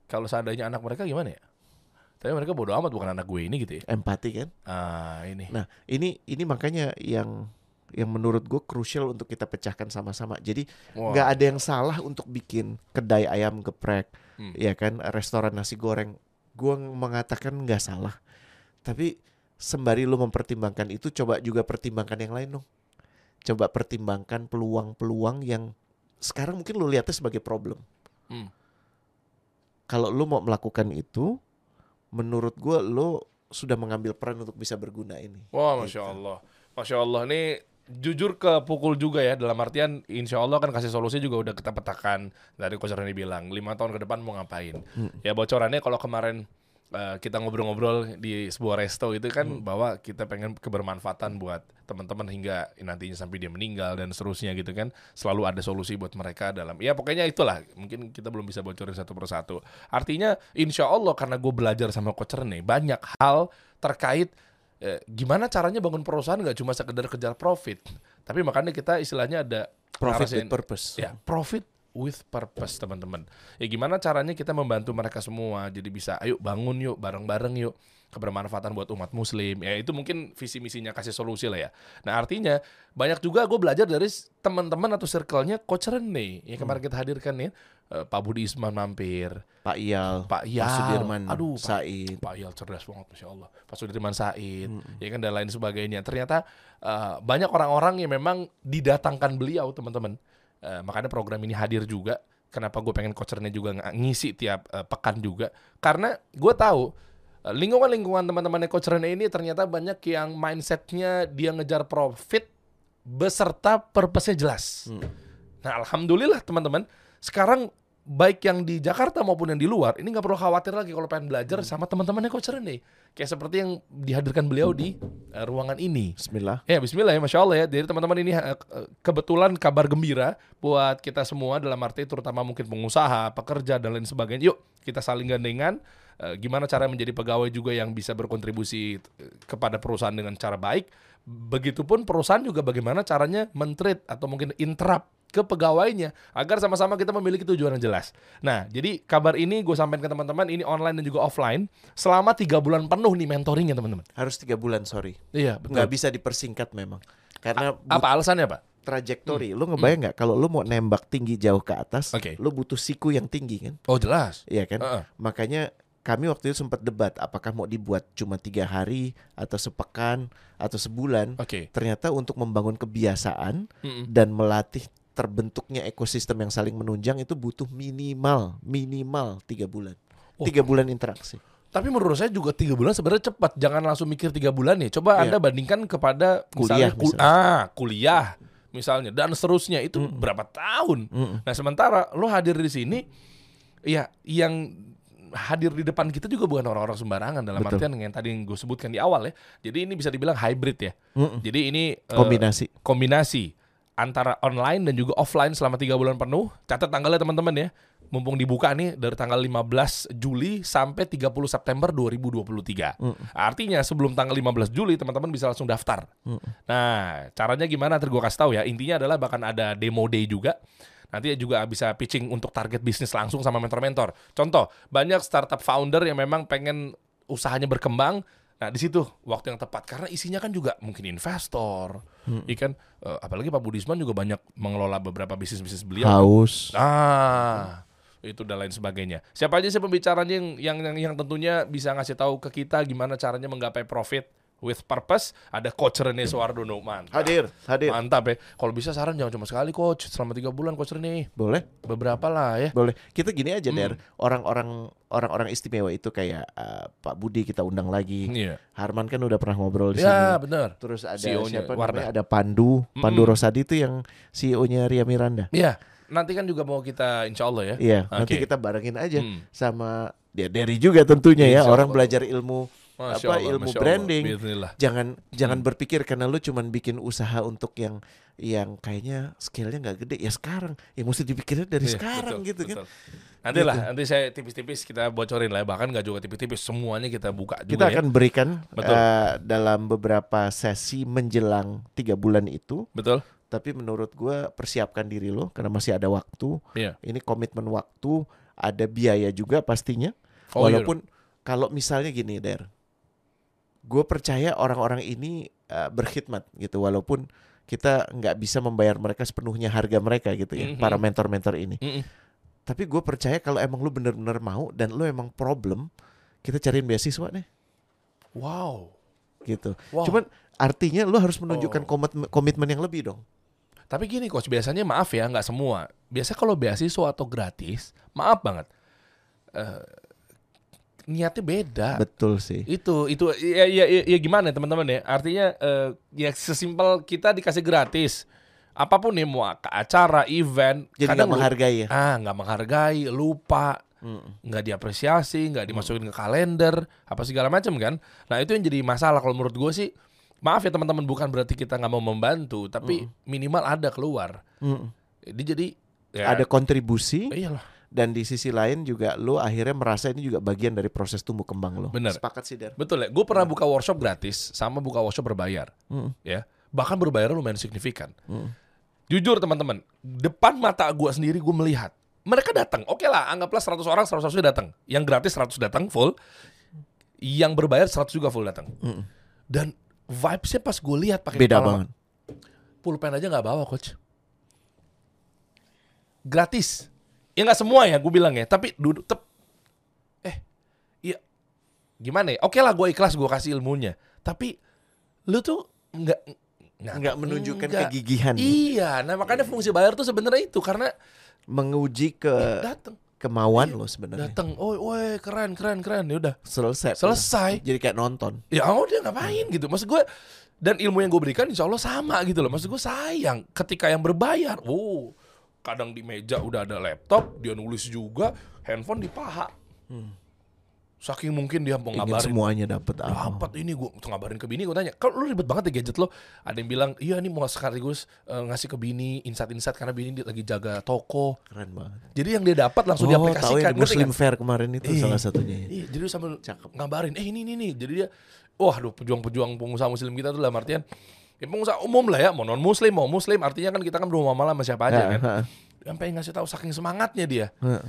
Speaker 2: kalau seandainya anak mereka gimana ya? Tapi mereka bodoh amat bukan anak gue ini gitu ya.
Speaker 1: Empati kan?
Speaker 2: Ah ini.
Speaker 1: Nah, ini ini makanya yang yang menurut gue krusial untuk kita pecahkan sama-sama. Jadi
Speaker 2: Wah.
Speaker 1: nggak ada yang salah untuk bikin kedai ayam geprek,
Speaker 2: Hmm.
Speaker 1: ya kan? Restoran nasi goreng. Gue mengatakan nggak salah, tapi sembari lu mempertimbangkan itu, coba juga pertimbangkan yang lain dong. Coba pertimbangkan peluang-peluang yang sekarang mungkin lu lihatnya sebagai problem.
Speaker 2: Hmm.
Speaker 1: Kalau lu mau melakukan itu, menurut gue lu sudah mengambil peran untuk bisa berguna ini.
Speaker 2: Wah, masya Allah, masya Allah ini jujur kepukul juga ya dalam artian insya Allah kan kasih solusi juga udah kita petakan dari Coach Rani bilang lima tahun ke depan mau ngapain ya bocorannya kalau kemarin eh, kita ngobrol-ngobrol di sebuah resto itu kan bahwa kita pengen kebermanfaatan buat teman-teman hingga nantinya sampai dia meninggal dan seterusnya gitu kan selalu ada solusi buat mereka dalam ya pokoknya itulah mungkin kita belum bisa bocorin satu persatu artinya insya Allah karena gue belajar sama Coach Rene banyak hal terkait Eh, gimana caranya bangun perusahaan nggak cuma sekedar kejar profit tapi makanya kita istilahnya ada
Speaker 1: Profit
Speaker 2: ngarasin-
Speaker 1: with purpose.
Speaker 2: ya profit with purpose teman-teman ya gimana caranya kita membantu mereka semua jadi bisa ayo bangun yuk bareng-bareng yuk kebermanfaatan buat umat muslim ya itu mungkin visi misinya kasih solusi lah ya nah artinya banyak juga gue belajar dari s- teman-teman atau circle-nya coach Rene yang kemarin kita hadirkan nih eh, Pak Budi Isman mampir
Speaker 1: Pak Iyal,
Speaker 2: Pak Iyal.
Speaker 1: Sudirman,
Speaker 2: Aduh, Pak-
Speaker 1: Said.
Speaker 2: Pak Yal cerdas banget, masya Allah. Pak Sudirman Said, ya kan dan lain sebagainya. Ternyata eh, banyak orang-orang yang memang didatangkan beliau, teman-teman. Eh, makanya program ini hadir juga. Kenapa gue pengen kocernya juga ng- ngisi tiap eh, pekan juga? Karena gue tahu eh, lingkungan-lingkungan teman-temannya kocernya ini ternyata banyak yang mindsetnya dia ngejar profit beserta purpose-nya jelas. Nah, alhamdulillah teman-teman, sekarang baik yang di Jakarta maupun yang di luar ini nggak perlu khawatir lagi kalau pengen belajar sama teman-temannya Coach Rene. Kayak seperti yang dihadirkan beliau di eh, ruangan ini.
Speaker 1: Bismillah.
Speaker 2: Ya bismillah ya Masya Allah ya Jadi teman-teman ini eh, eh, kebetulan kabar gembira Buat kita semua dalam arti terutama mungkin pengusaha, pekerja dan lain sebagainya Yuk kita saling gandengan Eh, Gimana cara menjadi pegawai juga yang bisa berkontribusi eh, kepada perusahaan dengan cara baik Begitupun perusahaan juga bagaimana caranya mentreat atau mungkin interrupt ke pegawainya agar sama-sama kita memiliki tujuan yang jelas. Nah, jadi kabar ini gue sampaikan ke teman-teman ini online dan juga offline selama tiga bulan penuh nih mentoringnya teman-teman.
Speaker 1: Harus tiga bulan, sorry.
Speaker 2: Iya,
Speaker 1: Nggak bisa dipersingkat memang. Karena
Speaker 2: Apa alasannya, Pak?
Speaker 1: trajektori. Lu ngebayang nggak kalau lu mau nembak tinggi jauh ke atas,
Speaker 2: Oke.
Speaker 1: lu butuh siku yang tinggi kan?
Speaker 2: Oh, jelas.
Speaker 1: Iya kan?
Speaker 2: Heeh.
Speaker 1: Makanya kami waktu itu sempat debat apakah mau dibuat cuma tiga hari atau sepekan atau sebulan.
Speaker 2: Oke.
Speaker 1: Ternyata untuk membangun kebiasaan
Speaker 2: Mm-mm.
Speaker 1: dan melatih terbentuknya ekosistem yang saling menunjang itu butuh minimal minimal tiga bulan.
Speaker 2: Oh.
Speaker 1: Tiga bulan interaksi.
Speaker 2: Tapi menurut saya juga tiga bulan sebenarnya cepat. Jangan langsung mikir tiga bulan ya. Coba
Speaker 1: Iya.
Speaker 2: anda bandingkan kepada
Speaker 1: Kuliah,
Speaker 2: misalnya kul-
Speaker 1: misalnya.
Speaker 2: ah kuliah misalnya dan seterusnya itu berapa tahun.
Speaker 1: Mm-mm.
Speaker 2: Nah sementara lo hadir di sini, ya yang hadir di depan kita juga bukan orang-orang sembarangan dalam
Speaker 1: Betul.
Speaker 2: artian yang tadi yang gue sebutkan di awal ya. Jadi ini bisa dibilang hybrid ya.
Speaker 1: Mm-mm.
Speaker 2: Jadi ini eh,
Speaker 1: Kombinasi.
Speaker 2: kombinasi antara online dan juga offline selama tiga bulan penuh. Catat tanggalnya teman-teman ya. Mumpung dibuka nih dari tanggal 15 Juli sampai 30 September 2023. Artinya sebelum tanggal 15 Juli teman-teman bisa langsung daftar. Nah, caranya gimana? Ntar gue kasih tahu ya. Intinya adalah bahkan ada demo day juga. Nanti juga bisa pitching untuk target bisnis langsung sama mentor-mentor. Contoh, banyak startup founder yang memang pengen usahanya berkembang. Nah, di situ waktu yang tepat karena isinya kan juga mungkin investor, ikan apalagi Pak Budisman juga banyak mengelola beberapa bisnis-bisnis beliau. Nah.
Speaker 1: Haus.
Speaker 2: Ah, itu dan lain sebagainya. Siapa aja sih pembicaranya yang, yang yang yang tentunya bisa ngasih tahu ke kita gimana caranya menggapai profit with purpose? Ada Coach Rene Suwardono mantap.
Speaker 1: Hadir, hadir.
Speaker 2: Mantap ya. Kalau bisa saran jangan cuma sekali coach, selama tiga bulan coach Rene.
Speaker 1: Boleh,
Speaker 2: Beberapa lah ya.
Speaker 1: boleh. Kita gini aja, Der. Orang-orang orang-orang istimewa itu kayak eh, Pak Budi kita undang lagi.
Speaker 2: Iya.
Speaker 1: Harman kan udah pernah ngobrol di
Speaker 2: Ya,
Speaker 1: sini.
Speaker 2: benar.
Speaker 1: Terus ada
Speaker 2: CEO-nya,
Speaker 1: siapa
Speaker 2: Wardah.
Speaker 1: namanya? Ada Pandu, Pandu
Speaker 2: Mm-mm.
Speaker 1: Rosadi itu yang CEO-nya Ria Miranda.
Speaker 2: Iya. Nanti kan juga mau kita insya Allah ya.
Speaker 1: Iya,
Speaker 2: Oke.
Speaker 1: nanti kita barengin aja
Speaker 2: Hmm.
Speaker 1: sama ya dari juga tentunya ya,
Speaker 2: Insya
Speaker 1: orang
Speaker 2: Allah.
Speaker 1: belajar ilmu
Speaker 2: Masya
Speaker 1: apa ilmu
Speaker 2: Allah, Masya Allah. Iya, Hmm.
Speaker 1: branding.
Speaker 2: Bismillah.
Speaker 1: Jangan jangan berpikir karena lu cuman bikin usaha untuk yang yang kayaknya scale-nya nggak gede ya sekarang. Ya mesti dipikirin dari
Speaker 2: Iya,
Speaker 1: sekarang
Speaker 2: betul,
Speaker 1: gitu kan. Gitu.
Speaker 2: betul. Nanti lah, nanti saya tipis-tipis kita bocorin lah ya. Bahkan nggak juga tipis-tipis, semuanya kita buka
Speaker 1: Kita
Speaker 2: juga ya.
Speaker 1: akan berikan
Speaker 2: Betul.
Speaker 1: eh, dalam beberapa sesi menjelang tiga bulan itu.
Speaker 2: Betul?
Speaker 1: Tapi menurut gua persiapkan diri lo karena masih ada waktu.
Speaker 2: Iya.
Speaker 1: Ini komitmen waktu, ada biaya juga pastinya.
Speaker 2: Oh, iya
Speaker 1: Walaupun kalau misalnya gini Der, gue percaya orang-orang ini eh, berkhidmat gitu. Walaupun kita nggak bisa membayar mereka sepenuhnya harga mereka gitu ya,
Speaker 2: Mhm.
Speaker 1: para mentor-mentor ini.
Speaker 2: Mm-mm.
Speaker 1: Tapi gue percaya kalau emang lu bener-bener mau dan lu emang problem, kita cariin beasiswa deh
Speaker 2: Wow.
Speaker 1: gitu.
Speaker 2: Wow.
Speaker 1: Cuman artinya lu harus
Speaker 2: Oh.
Speaker 1: menunjukkan komitmen, komitmen yang lebih dong.
Speaker 2: Tapi gini coach, biasanya maaf ya nggak semua. Biasa kalau beasiswa atau gratis, maaf banget. Eh, niatnya beda.
Speaker 1: Betul sih.
Speaker 2: Itu itu ya, ya, ya, ya gimana ya, teman-teman ya? Artinya eh, ya sesimpel kita dikasih gratis. Apapun nih mau ke acara, event,
Speaker 1: Jadi nggak
Speaker 2: lu-
Speaker 1: menghargai ya.
Speaker 2: ah nggak menghargai, lupa,
Speaker 1: Mm.
Speaker 2: nggak diapresiasi, nggak dimasukin ke kalender, apa segala macam kan. Nah itu yang jadi masalah kalau menurut gue sih. Maaf ya teman-teman, bukan berarti kita nggak mau membantu, tapi minimal ada keluar.
Speaker 1: Mm.
Speaker 2: Dia jadi ya, Iya.
Speaker 1: Ada kontribusi
Speaker 2: iyalah.
Speaker 1: dan di sisi lain juga lu akhirnya merasa ini juga bagian dari proses tumbuh kembang lo.
Speaker 2: Bener.
Speaker 1: Sepakat sih Der.
Speaker 2: Betul ya. Gue pernah buka workshop gratis sama buka workshop berbayar,
Speaker 1: Mm.
Speaker 2: ya. Bahkan berbayar lumayan signifikan.
Speaker 1: Mm.
Speaker 2: Jujur teman-teman, depan mata gue sendiri gue melihat mereka datang. Oke lah, anggaplah 100 orang 100 harusnya datang. Yang gratis 100 datang full. Yang berbayar 100 juga full datang.
Speaker 1: Mm.
Speaker 2: Dan vibes-nya pas gue lihat pakai
Speaker 1: Beda
Speaker 2: kepala-
Speaker 1: banget.
Speaker 2: pulpen aja nggak bawa coach gratis ya nggak semua ya gue bilang ya tapi duduk tep eh iya gimana ya oke lah gue ikhlas gue kasih ilmunya tapi lu tuh nggak
Speaker 1: Nggak menunjukkan
Speaker 2: nggak.
Speaker 1: kegigihan.
Speaker 2: iya nah makanya fungsi bayar tuh sebenarnya itu karena
Speaker 1: Menguji ke
Speaker 2: datang
Speaker 1: kemauan lo sebenarnya.
Speaker 2: datang oh woi keren keren keren ya udah
Speaker 1: Selesai.
Speaker 2: selesai
Speaker 1: Jadi kayak nonton.
Speaker 2: ya oh dia ngapain gitu maksud gue dan ilmu yang gue berikan insya Allah sama gitu loh maksud gue sayang ketika yang berbayar oh kadang di meja udah ada laptop, dia nulis juga, handphone di paha.
Speaker 1: Hmm.
Speaker 2: Saking mungkin dia mau
Speaker 1: Ingin
Speaker 2: ngabarin
Speaker 1: semuanya Ah, dapat apa?
Speaker 2: dapat ini gue ngabarin ke bini gue tanya kalau lu ribet banget ya gadget lo ada yang bilang iya ini mau sekaligus eh, ngasih ke bini insight-insight karena bini dia lagi jaga toko
Speaker 1: Keren banget.
Speaker 2: jadi yang dia dapat langsung
Speaker 1: oh, tahu yang
Speaker 2: diaplikasikan
Speaker 1: di
Speaker 2: ngerti kan?
Speaker 1: Muslim
Speaker 2: nggak?
Speaker 1: Fair kemarin itu
Speaker 2: Iya.
Speaker 1: salah satunya. ya.
Speaker 2: Iya, jadi dia sambil
Speaker 1: Cakep.
Speaker 2: ngabarin, eh ini ini nih. Jadi dia, wah, aduh, pejuang-pejuang pengusaha Muslim kita tuh lah, artian, ya pengusaha umum lah ya, mau non Muslim, mau Muslim, artinya kan kita kan berumah malam sama siapa aja
Speaker 1: Ya,
Speaker 2: kan.
Speaker 1: heeh,
Speaker 2: Sampai ngasih tahu saking semangatnya dia.
Speaker 1: heeh.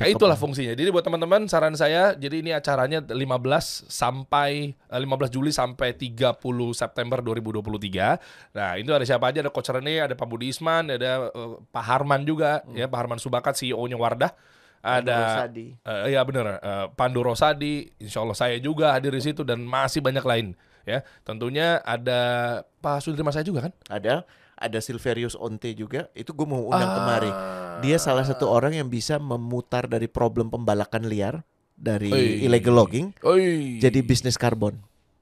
Speaker 2: Ya, itulah fungsinya. Jadi buat teman-teman saran saya, jadi ini acaranya 15 sampai eh, 15 Juli sampai 30 September 2023. Nah, itu ada siapa aja? Ada Coach Rene, ada Pak Budi Isman, ada eh, Pak Harman juga
Speaker 1: Hmm.
Speaker 2: ya, Pak Harman Subakat CEO-nya Wardah. Ada
Speaker 1: Rosadi.
Speaker 2: Eh, ya benar, Eh, Pandu Rosadi, insya Allah saya juga hadir di situ dan masih banyak lain. Ya, tentunya ada Pak Sudirman saya juga kan?
Speaker 1: Ada ada Silverius Onte juga. Itu gue mau undang
Speaker 2: Ah.
Speaker 1: kemari. Dia salah satu orang yang bisa memutar dari problem pembalakan liar dari
Speaker 2: Oi.
Speaker 1: illegal logging
Speaker 2: Oi.
Speaker 1: jadi bisnis karbon.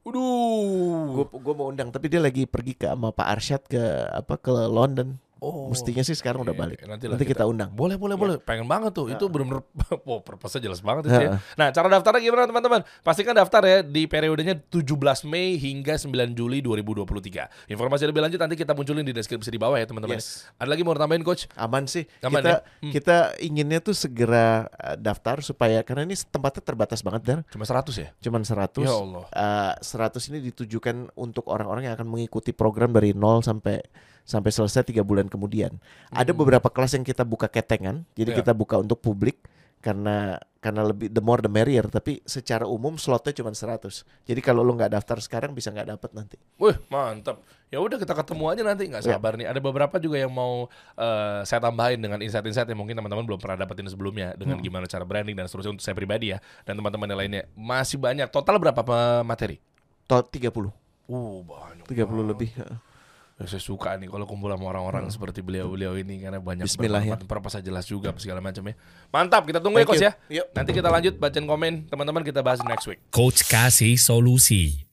Speaker 2: Waduh.
Speaker 1: Gue gue mau undang tapi dia lagi pergi ke sama Pak Arsyad ke apa ke London.
Speaker 2: Oh.
Speaker 1: Mestinya sih sekarang udah
Speaker 2: Iya,
Speaker 1: balik.
Speaker 2: iya,
Speaker 1: Nanti,
Speaker 2: nantilah
Speaker 1: kita,
Speaker 2: kita-
Speaker 1: undang.
Speaker 2: Boleh, boleh, boleh. Pengen banget tuh. Itu benar-benar (laughs) wow, purpose-nya jelas banget itu ya.
Speaker 1: Iya. Heeh.
Speaker 2: Nah, cara daftarnya gimana teman-teman? Pastikan daftar ya di periodenya 17 Mei hingga 9 Juli 2023. Informasi lebih lanjut nanti kita munculin di deskripsi di bawah ya, teman-teman.
Speaker 1: Yes.
Speaker 2: Ada lagi mau tambahin coach?
Speaker 1: Aman sih.
Speaker 2: Aman
Speaker 1: kita
Speaker 2: ya? Hmm.
Speaker 1: kita inginnya tuh segera eh, daftar supaya karena ini tempatnya terbatas banget dan
Speaker 2: Cuma 100 ya?
Speaker 1: cuman 100.
Speaker 2: Ya Allah.
Speaker 1: Eh, 100 ini ditujukan untuk orang-orang yang akan mengikuti program dari nol sampai sampai selesai tiga bulan kemudian. Ada beberapa kelas yang kita buka ketengan, jadi
Speaker 2: Iya.
Speaker 1: kita buka untuk publik karena karena lebih the more the merrier. Tapi secara umum slotnya cuma 100. Jadi kalau lo nggak daftar sekarang bisa nggak dapet nanti.
Speaker 2: Wih mantap. Ya udah kita ketemu aja nanti nggak
Speaker 1: Ya.
Speaker 2: sabar nih. Ada beberapa juga yang mau eh, saya tambahin dengan insight-insight yang mungkin teman-teman belum pernah dapetin sebelumnya
Speaker 1: Hmm.
Speaker 2: dengan gimana cara branding dan seterusnya untuk saya pribadi ya dan teman-teman yang lainnya masih banyak. Total berapa eh, materi?
Speaker 1: Toh 30,
Speaker 2: Uh banyak.
Speaker 1: 30 lebih.
Speaker 2: Ya, saya suka nih kalau kumpul sama orang-orang seperti beliau-beliau ini karena banyak
Speaker 1: Hmm. Bismillah, ya.
Speaker 2: bermanfaat, purpose-nya jelas juga segala macam ya. Mantap, kita tunggu ya
Speaker 1: Thank
Speaker 2: coach
Speaker 1: you.
Speaker 2: ya. Nanti kita lanjut bacaan komen teman-teman kita bahas next week.
Speaker 3: Coach Kasih Solusi.